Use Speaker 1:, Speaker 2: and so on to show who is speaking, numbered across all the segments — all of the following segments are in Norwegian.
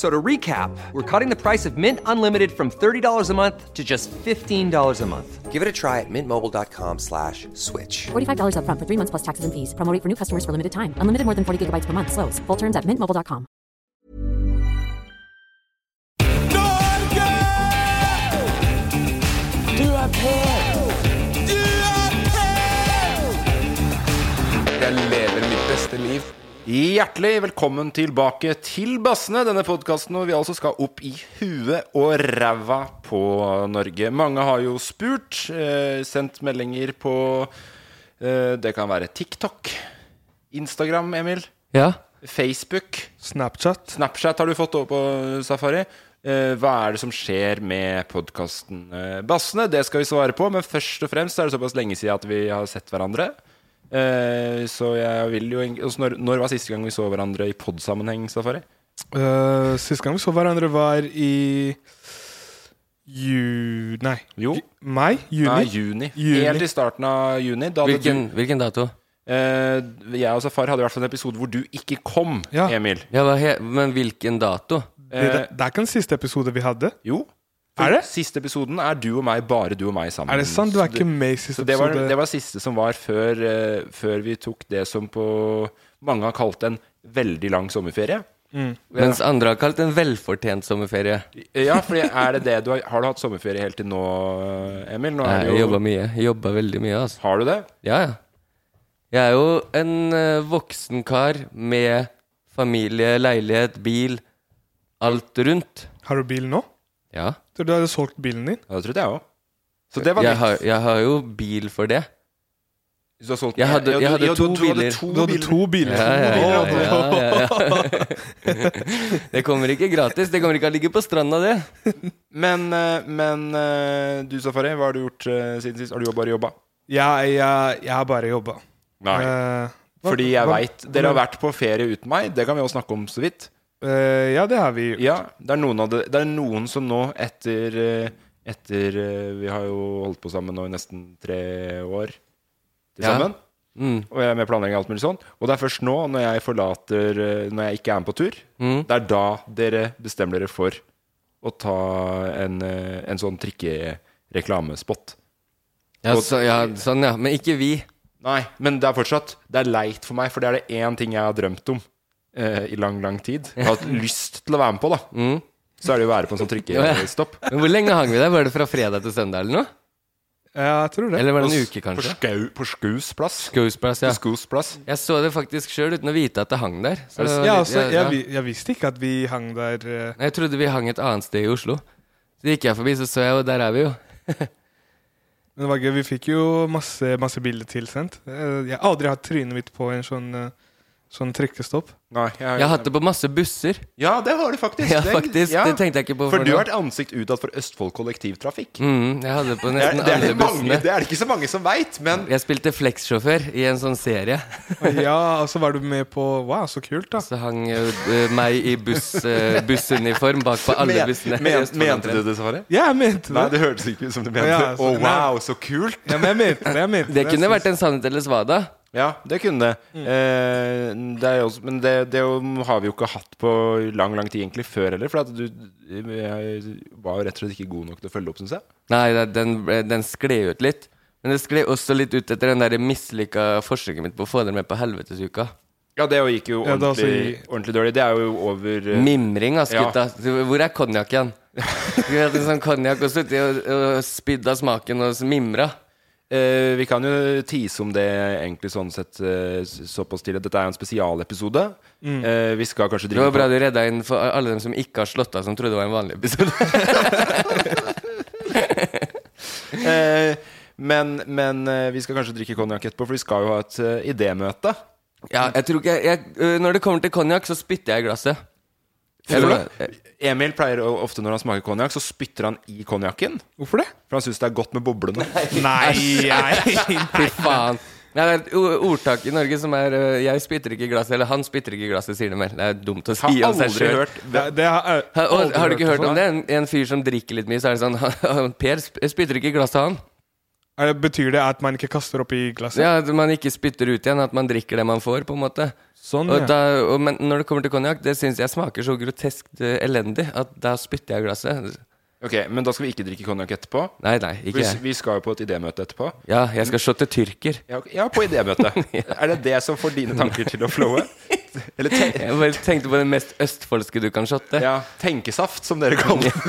Speaker 1: So to recap, we're cutting the price of Mint Unlimited from $30 a month to just $15 a month. Give it a try at mintmobile.com slash switch.
Speaker 2: $45 upfront for three months plus taxes and fees. Promo rate for new customers for limited time. Unlimited more than 40 gigabytes per month. Slows. Full terms at mintmobile.com.
Speaker 3: Norge! Du er på! Du er på!
Speaker 4: Jeg lever mitt beste liv. Hjertelig velkommen tilbake til Bassene, denne podkasten hvor vi altså skal opp i huet og ræva på Norge. Mange har jo spurt, eh, sendt meldinger på eh, Det kan være TikTok, Instagram, Emil,
Speaker 5: Ja.
Speaker 4: Facebook,
Speaker 5: Snapchat.
Speaker 4: Snapchat har du fått over på Safari. Eh, Hva er det som skjer med podkasten eh, Bassene? Det skal vi svare på, men først og fremst er det såpass lenge siden at vi har sett hverandre. Eh, Så jeg vil jo egentlig- også når, når var siste gang vi så hverandre i podsammenheng, Safari?
Speaker 5: Uh, Sist gang vi så hverandre, var i ju... Nei.
Speaker 4: Jo.
Speaker 5: Mai? Juni?
Speaker 4: Nei, juni.
Speaker 5: Juni.
Speaker 4: Helt i starten av juni. Da hadde
Speaker 6: Hvilken, hvilken dato?
Speaker 4: Du, eh, jeg og Safar hadde i hvert fall en episode hvor du ikke kom,
Speaker 5: Ja.
Speaker 4: Emil.
Speaker 6: Ja, hva he men hvilken dato?
Speaker 5: det, det, det er ikke den siste episode vi hadde.
Speaker 4: Eh, Jo.
Speaker 5: Er det?
Speaker 4: Siste episoden er du og meg, bare du og meg sammen.
Speaker 5: Er det sant? Du er
Speaker 4: Så
Speaker 5: ikke med i
Speaker 4: Så
Speaker 5: siste
Speaker 4: det var,
Speaker 5: episode.
Speaker 4: det var siste som var før, eh, før vi tok det som på mange har kalt en veldig lang sommerferie.
Speaker 6: Mens andre har kalt det en velfortjent sommerferie.
Speaker 4: Ja, for er det det du har, har du hatt sommerferie helt til nå, Emil? Nå er
Speaker 6: Jeg
Speaker 4: det
Speaker 6: jobba
Speaker 4: jo,
Speaker 6: mye. Jeg Jobba veldig mye, altså.
Speaker 4: har du det?
Speaker 6: Ja, ja. Jeg er jo en eh, voksen kar med familie, leilighet, bil, alt rundt.
Speaker 5: Har du bil nå?
Speaker 6: Ja.
Speaker 5: Så du hadde solgt bilen din?
Speaker 4: Ja, det trodde jeg òg. Så det var
Speaker 6: Jeg har,
Speaker 4: nytt.
Speaker 6: jeg har jo bil for det.
Speaker 4: Du har solgt
Speaker 6: jeg hadde-
Speaker 4: Ja,
Speaker 6: jeg hadde
Speaker 4: ja, du-
Speaker 6: to
Speaker 4: du hadde
Speaker 6: biler.
Speaker 4: to
Speaker 5: Du hadde
Speaker 4: biler.
Speaker 5: to biler.
Speaker 6: Ja, ja, ja,
Speaker 5: Å,
Speaker 6: ja, ja, ja. Det kommer ikke gratis. Det kommer ikke å ligge på stranda, det.
Speaker 4: Men, eh, men eh, du, Safari, hva har du gjort eh, siden sist? Har du jo bare jobba?
Speaker 5: Jeg, jeg, jeg har bare jobba. Eh, hva-
Speaker 4: Fordi jeg
Speaker 5: hva-
Speaker 4: veit Dere har vært på ferie uten meg. Det kan vi jo snakke om så vidt.
Speaker 5: Eh, ja, det har vi. gjort.
Speaker 4: Ja, det er noen, av det, det er noen som nå etter, eh, etter eh, Vi har jo holdt på sammen nå i nesten tre år til
Speaker 6: Ja.
Speaker 4: sammen.
Speaker 6: Mm.
Speaker 4: Og jeg er med planlegging og alt mulig sånn. Og det er først nå, når jeg forlater eh, Når jeg ikke er med på tur, det er da dere bestemmer dere for å ta en, eh, en sånn trikkereklamespot.
Speaker 6: Ja, så, ja, sånn, ja. Men ikke vi.
Speaker 4: Nei, men det er fortsatt Det er leit for meg, for det er det én ting jeg har drømt om eh, i lang, lang tid. Jeg har hatt lyst til å være med på, da.
Speaker 6: Mm.
Speaker 4: Så er det jo å være på en sånn trikkestopp.
Speaker 6: Men hvor lenge hang vi der? Var det fra fredag til søndag eller noe?
Speaker 5: Jeg tror det.
Speaker 6: Eller var det en uke,
Speaker 4: På,
Speaker 6: kanskje?
Speaker 4: skau, på Skaus plass.
Speaker 6: Goosebumps,
Speaker 4: På
Speaker 6: ja.
Speaker 4: Skaus plass.
Speaker 6: Jeg så det faktisk sjøl uten å vite at det hang der. Så det var
Speaker 5: ja,
Speaker 6: litt-
Speaker 5: altså,
Speaker 6: ja.
Speaker 5: jeg, vi- jeg visste ikke at vi hang der eh,
Speaker 6: Nei, Jeg trodde vi hang et annet sted i Oslo. Så gikk jeg forbi, så så jeg, og der er vi jo.
Speaker 5: Men det var gøy, vi fikk jo masse, masse bilder tilsendt. Eh, Jeg har aldri hatt trynet mitt på en sånn, eh, sånn trikkestopp.
Speaker 4: Nei, jeg,
Speaker 6: Jeg har hatt det på masse busser.
Speaker 4: Ja, det har du faktisk.
Speaker 6: Ja, faktisk. Det tenkte jeg ikke på
Speaker 4: For
Speaker 6: før
Speaker 4: du
Speaker 6: nå.
Speaker 4: har vært ansikt utad for Østfold kollektivtrafikk.
Speaker 6: Mm, jeg hadde det på
Speaker 4: Det, er,
Speaker 6: nesten
Speaker 4: det, er
Speaker 6: alle
Speaker 4: det, mange,
Speaker 6: bussene.
Speaker 4: det er det ikke så mange som veit, men
Speaker 6: Jeg spilte flexsjåfør i en sånn serie.
Speaker 5: Ja, og så var du med på Wow, så kult, da.
Speaker 6: Så hang jo eh, meg i buss, eh, bussuniform bak på alle
Speaker 4: men-
Speaker 6: bussene.
Speaker 4: men-
Speaker 6: i Østfold
Speaker 4: Mente
Speaker 6: omtrent.
Speaker 4: du det, Safari?
Speaker 5: Ja, jeg mente
Speaker 4: Nei,
Speaker 5: det.
Speaker 4: det hørtes ikke ut som du mente.
Speaker 5: Ja,
Speaker 4: Å,
Speaker 5: så-
Speaker 4: wow, så kult!
Speaker 5: Ja, men jeg mente det. Jeg mente
Speaker 6: Det kunne vært en sannhet eller svada.
Speaker 4: Ja, Mm. det kunne det. Eh, det er jo også, men det, det jo, har vi jo ikke hatt på lang lang tid egentlig før heller. For at du jeg var jo rett og slett ikke god nok til å følge opp, syns jeg.
Speaker 6: Nei, det- den, ble- den skled ut litt. Men det skled også litt ut etter den der mislykka forsøket mitt på å få dere med på helvetesuka.
Speaker 4: Ja, det jo gikk jo
Speaker 5: Ja, det er
Speaker 4: ordentlig,
Speaker 5: altså
Speaker 4: ordentlig dårlig. Det er jo over eh,
Speaker 6: Mimring, ass,
Speaker 4: Ja.
Speaker 6: gutta. Hvor er konjakken? Skulle hatt en sånn konjakk og sittet og, og spydd av smaken og mimra.
Speaker 4: eh, Vi kan jo tise om det egentlig sånn sett eh, såpass til at dette er en spesialepisode.
Speaker 5: Mm.
Speaker 4: Eh, vi skal kanskje
Speaker 6: Det
Speaker 4: drive
Speaker 6: var bra
Speaker 4: på-
Speaker 6: du redda inn for alle dem som ikke har slått av, som trodde det var en vanlig episode.
Speaker 4: Eh, men, men eh, vi skal kanskje drikke konjakk etterpå, for vi skal jo ha et eh, idémøte.
Speaker 6: Ja, jeg tror ikke jeg, jeg, øh, Når det kommer til konjakk, så spytter jeg i glasset.
Speaker 4: Eller,
Speaker 6: Eller- eh,
Speaker 4: Emil pleier å- ofte når han smaker konjakk, så spytter han i konjakken.
Speaker 5: Hvorfor det?
Speaker 4: For han syns det er godt med boblene.
Speaker 7: Nei, nei.
Speaker 6: Fy faen. Nei, det er et o- ordtak i Norge som er øh, 'jeg spytter ikke i glasset', eller 'han spytter ikke i glasset', sier det mer. Det er dumt å
Speaker 4: Har
Speaker 6: si om seg
Speaker 4: aldri
Speaker 6: selv.
Speaker 4: hørt
Speaker 5: Det, det har, jeg
Speaker 6: Ha, og,
Speaker 5: aldri sånn.
Speaker 6: har du ikke hørt
Speaker 5: før.
Speaker 6: om det? En, en fyr som drikker litt mye, så er det sånn han, Per sp- spytter ikke i glasset, han.
Speaker 5: Er det, betyr det at man ikke kaster opp i glasset?
Speaker 6: Ja, At man ikke spytter ut igjen, at man drikker det man får, på en måte.
Speaker 5: Sånn,
Speaker 6: Og
Speaker 5: ja.
Speaker 6: da, og, men når det kommer til konjakk, det syns jeg smaker så groteskt eh, elendig at da spytter jeg i glasset.
Speaker 4: Ok, Men da skal vi ikke drikke konjakk etterpå.
Speaker 6: Nei, nei, ikke
Speaker 4: Vi,
Speaker 6: jeg.
Speaker 4: vi skal jo på et idémøte etterpå.
Speaker 6: Ja, jeg skal shotte tyrker.
Speaker 4: Ja, ok, ja på idémøte. Er det det som får dine tanker til å flowe? Eller te
Speaker 6: Jeg bare tenkte på det mest østfoldske du kan shotte.
Speaker 4: ja, tenkesaft, som dere kaller det.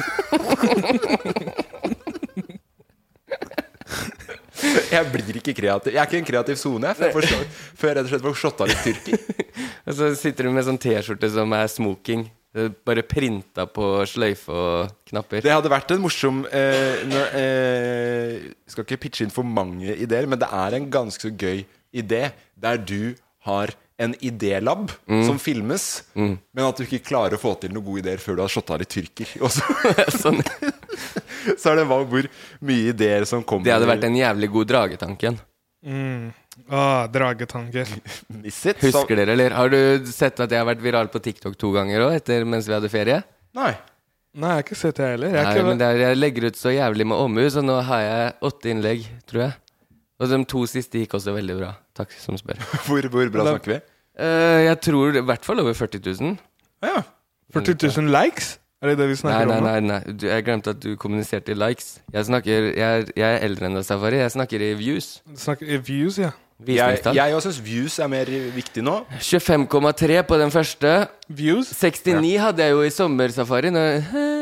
Speaker 4: Jeg blir ikke kreativ. Jeg er ikke i en kreativ sone, jeg, for jeg forstår- før jeg rett og slett får shotta litt tyrker.
Speaker 6: Og så sitter du med sånn T-skjorte som er smoking. eh, Bare printa på sløyfe og knapper.
Speaker 4: Det hadde vært en morsom eh, nå- eh, Skal ikke pitche inn for mange ideer, men det er en ganske så gøy idé der du har en idélab
Speaker 6: Mm.
Speaker 4: som filmes, men at du ikke klarer å få til noen gode ideer før du har shotta litt tyrker. Og så,
Speaker 6: sånn.
Speaker 4: så er det hva, hvor mye ideer som kommer.
Speaker 6: Det hadde vært den jævlig god dragetanken.
Speaker 5: Ah, dragetanker.
Speaker 4: Miss it, så-
Speaker 6: Husker dere, eller? Har du sett at jeg har vært viral på TikTok to ganger òg, etter mens vi hadde ferie?
Speaker 4: Nei.
Speaker 5: Nei, jeg har ikke sett det heller. Jeg
Speaker 6: Nei,
Speaker 5: har ikke,
Speaker 6: men det er, jeg legger ut så jævlig med omhu, så nå har jeg åtte innlegg, tror jeg. Og de to siste gikk også veldig bra. Takk som spør.
Speaker 4: Hvor, hvor bra snakker vi?
Speaker 6: Eh, jeg tror det- i hvert fall over 40 000.
Speaker 4: Ja.
Speaker 5: 40 000 likes? Er det det vi
Speaker 6: Nei,
Speaker 5: snakker
Speaker 6: nei,
Speaker 5: om? nå?
Speaker 6: nei, nei. Du, jeg glemte at du kommuniserte i likes. Jeg, snakker, jeg, er, jeg er eldre enn deg, Safari. Jeg snakker i views.
Speaker 5: Du Snakker i views, ja.
Speaker 4: Jeg,
Speaker 6: Visningstall.
Speaker 4: jeg syns views er mer viktig nå.
Speaker 6: 25,3 på den første.
Speaker 5: Views?
Speaker 6: 69 hadde jeg jo i sommersafari. Når...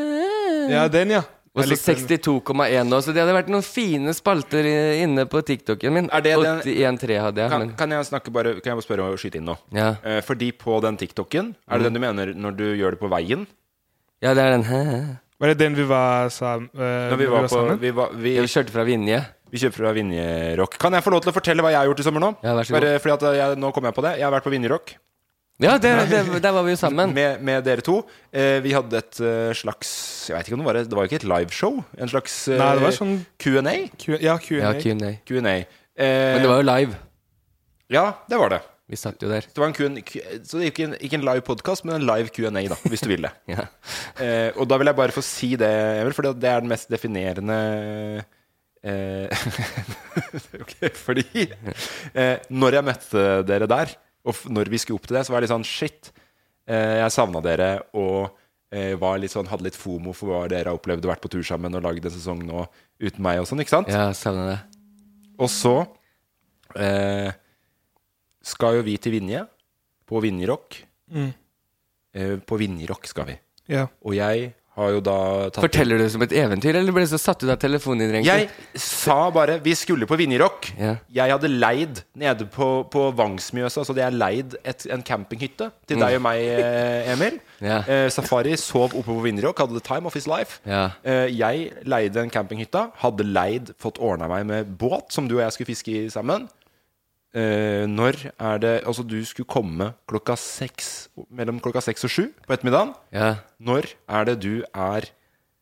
Speaker 5: Ja, den, ja.
Speaker 6: Og
Speaker 5: Jeg
Speaker 6: så
Speaker 5: likte den.
Speaker 6: 62,1 nå, så det hadde vært noen fine spalter i- inne på TikToken min.
Speaker 4: Er det den-
Speaker 6: 81,3 hadde jeg,
Speaker 4: Kan,
Speaker 6: men
Speaker 4: kan jeg snakke bare Kan jeg bare spørre og skyte inn nå?
Speaker 6: ja.
Speaker 4: Eh, fordi på den TikToken Er det
Speaker 6: Mm.
Speaker 4: den du mener når du gjør det på veien?
Speaker 6: ja, det er den hæ?
Speaker 5: Var det den vi var, sam, eh,
Speaker 4: Når vi, var på, vi, var, vi,
Speaker 6: Jeg kjørte fra Vinje.
Speaker 4: vi kjøper fra Vinjerock. Kan jeg få lov til å fortelle hva jeg har gjort i sommer nå?
Speaker 6: Ja, vær så god.
Speaker 4: Bare fordi at jeg, nå kom jeg på det. Jeg har vært på Vinjerock
Speaker 6: Ja, det, det, der var vi jo sammen.
Speaker 4: med, med dere to. Eh, vi hadde et eh, slags Jeg vet ikke om det var Det var jo ikke et liveshow. En slags eh,
Speaker 5: Nei, det var sånn
Speaker 4: Q&A.
Speaker 5: Q, Ja, Q&A.
Speaker 6: Ja, Q&A.
Speaker 4: Q&A. Eh,
Speaker 6: Men det var jo live.
Speaker 4: Ja, det var det.
Speaker 6: Vi satt jo der.
Speaker 4: Det var en Q&A Q- Så det gikk en, ikke en live podkast, men en live Q&A, da, hvis du vil det.
Speaker 6: Ja.
Speaker 4: Eh, og da vil jeg bare få si det, Emil, for det er den mest definerende eh, ok, Fordi eh, når jeg møtte dere der, og f når vi skulle opp til det, så var jeg litt sånn Shit, eh, jeg savna dere og eh, var litt sånn, hadde litt fomo for hva dere har opplevd og vært på tur sammen og lagd en sesong nå uten meg og sånn, ikke sant?
Speaker 6: Ja, savna det.
Speaker 4: Og så eh, skal jo vi til Vinje, på Vinjerock. Eh, på Vinjerock skal vi.
Speaker 5: Ja.
Speaker 4: Og jeg har jo da tatt
Speaker 6: Forteller du det som et eventyr, eller ble du så satt ut av telefonen din? egentlig?
Speaker 4: Jeg sa bare Vi skulle på Vinjerock.
Speaker 6: Ja.
Speaker 4: Jeg hadde leid nede på, på Vangsmjøsa, så det er leid et, en campinghytte til deg og meg, eh, Emil.
Speaker 6: Mm. Ja.
Speaker 4: Eh, Safari sov oppe på Vinjerock, hadde the time of his life.
Speaker 6: Ja.
Speaker 4: Eh, jeg leide en campinghytta, hadde leid, fått ordna meg med båt, som du og jeg skulle fiske i sammen. Eh, når er det Altså, du skulle komme klokka seks mellom klokka seks og sju på ettermiddagen.
Speaker 6: Ja.
Speaker 4: Når er det du er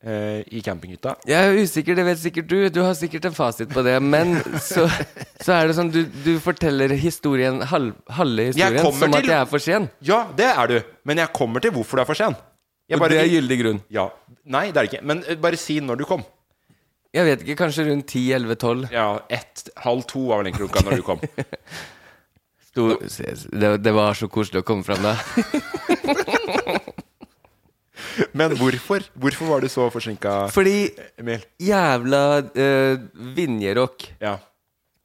Speaker 4: eh, i campinghytta?
Speaker 6: Jeg er usikker, det vet sikkert du. Du har sikkert en fasit på det. Men så, så er det sånn, du, du forteller historien, halv, halve historien,
Speaker 4: kommer
Speaker 6: som at
Speaker 4: til-
Speaker 6: jeg er for sen.
Speaker 4: Ja, det er du. Men jeg kommer til hvorfor du er for sen. Jeg
Speaker 6: Og det er gyldig grunn.
Speaker 4: ja. Nei, det er det ikke. Men eh, bare si når du kom.
Speaker 6: Jeg vet ikke, kanskje rundt 10-11-12.
Speaker 4: Ja, ett, halv to var vel egentlig klokka når du kom.
Speaker 6: Stor, det, det var så koselig å komme fram da.
Speaker 4: Men hvorfor? Hvorfor var du så forsinka,
Speaker 6: Fordi
Speaker 4: Emil?
Speaker 6: jævla eh, Vinjerock
Speaker 4: Ja.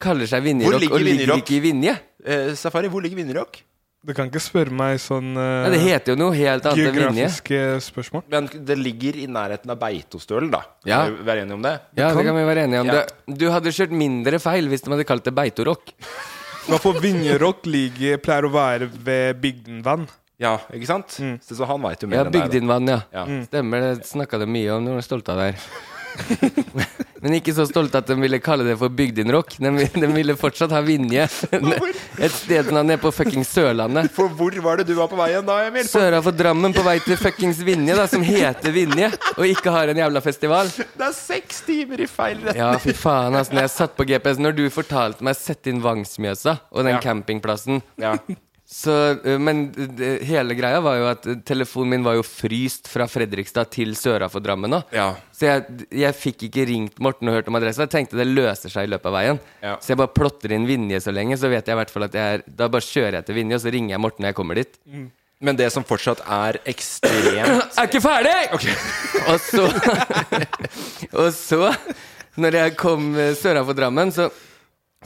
Speaker 6: kaller seg Vinjerock
Speaker 4: ligger
Speaker 6: og ligger
Speaker 4: Vinjerock?
Speaker 6: ikke i Vinje.
Speaker 4: Eh, Safari, hvor ligger Vinjerock?
Speaker 5: Du kan ikke spørre meg sånn eh,
Speaker 6: Ja, det heter jo noe helt annet enn Vinje.
Speaker 5: geografiske spørsmål.
Speaker 4: Men det ligger i nærheten av Beitostølen, da.
Speaker 6: Ja.
Speaker 4: Kan vi være enige om det?
Speaker 6: Ja, det kan vi være enige om.
Speaker 4: Ja.
Speaker 6: Du, du hadde kjørt mindre feil hvis de hadde kalt det Beitorock.
Speaker 5: Hvorfor Vinjerock ligger, pleier å være ved Bygdenvann.
Speaker 4: Ja, Mm. ikke sant? Så, så han veit jo mer
Speaker 6: Ja,
Speaker 4: enn deg, da.
Speaker 6: Bygdinvann, ja. Mm.
Speaker 4: Ja.
Speaker 6: Stemmer, det snakka de mye om. De var stolte av det her. Men ikke så stolte at de ville kalle det for Bygdinrock. De, vi- de ville fortsatt ha Vinje. Et stedsnavn nede på fuckings Sørlandet.
Speaker 4: For hvor var det du var på vei igjen da, Emil?
Speaker 6: Søra for Drammen på vei til fuckings Vinje, da, som heter Vinje, og ikke har en jævla festival.
Speaker 4: Det er seks timer i feil retning!
Speaker 6: Ja, fy faen, altså. Når jeg satt på GPS, når du fortalte meg 'sett inn Vangsmjøsa' og den
Speaker 4: Ja.
Speaker 6: campingplassen
Speaker 4: Ja.
Speaker 6: så, eh, Men eh, hele greia var jo at eh, telefonen min var jo fryst fra Fredrikstad til søra for Drammen nå.
Speaker 4: Ja.
Speaker 6: Så jeg, jeg fikk ikke ringt Morten og hørt om adressa. Jeg tenkte det løser seg i løpet av veien.
Speaker 4: Ja.
Speaker 6: Så jeg bare plotter inn Vinje så lenge, så vet jeg i hvert fall at jeg er Da bare kjører jeg til Vinje, og så ringer jeg Morten når jeg kommer dit.
Speaker 4: Men det som fortsatt er ekstremt
Speaker 6: Er ikke ferdig! og så Og så, når jeg kom eh, søra for Drammen, så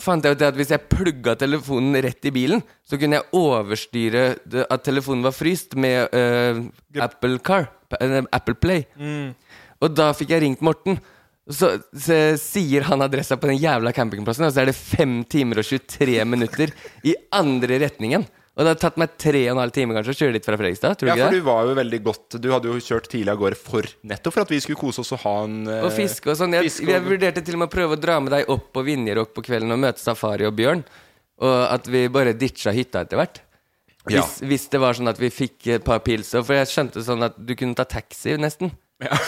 Speaker 6: fant jeg ut det at hvis jeg plugga telefonen rett i bilen, så kunne jeg overstyre det, at telefonen var fryst med eh, Apple Car. eh, Apple Play.
Speaker 4: Mm.
Speaker 6: Og da fikk jeg ringt Morten. Så, så sier han adressa på den jævla campingplassen, og så er det 5 timer og 23 minutter i andre retningen. Og det har tatt meg 3 og en halv time kanskje å kjøre dit fra Fredrikstad. Tror du
Speaker 4: Ja,
Speaker 6: ikke det?
Speaker 4: for du var jo veldig godt Du hadde jo kjørt tidlig av gårde for nettopp for at vi skulle kose oss og ha en eh,
Speaker 6: Og fiske og sånn. Jeg,
Speaker 4: fiske og-
Speaker 6: jeg vurderte til og med å prøve å dra med deg opp på Vinjerock på kvelden og møte Safari og Bjørn. Og at vi bare ditcha hytta etter hvert.
Speaker 4: Ja.
Speaker 6: Hvis, hvis det var sånn at vi fikk et par pils og- For jeg skjønte sånn at du kunne ta taxi, nesten.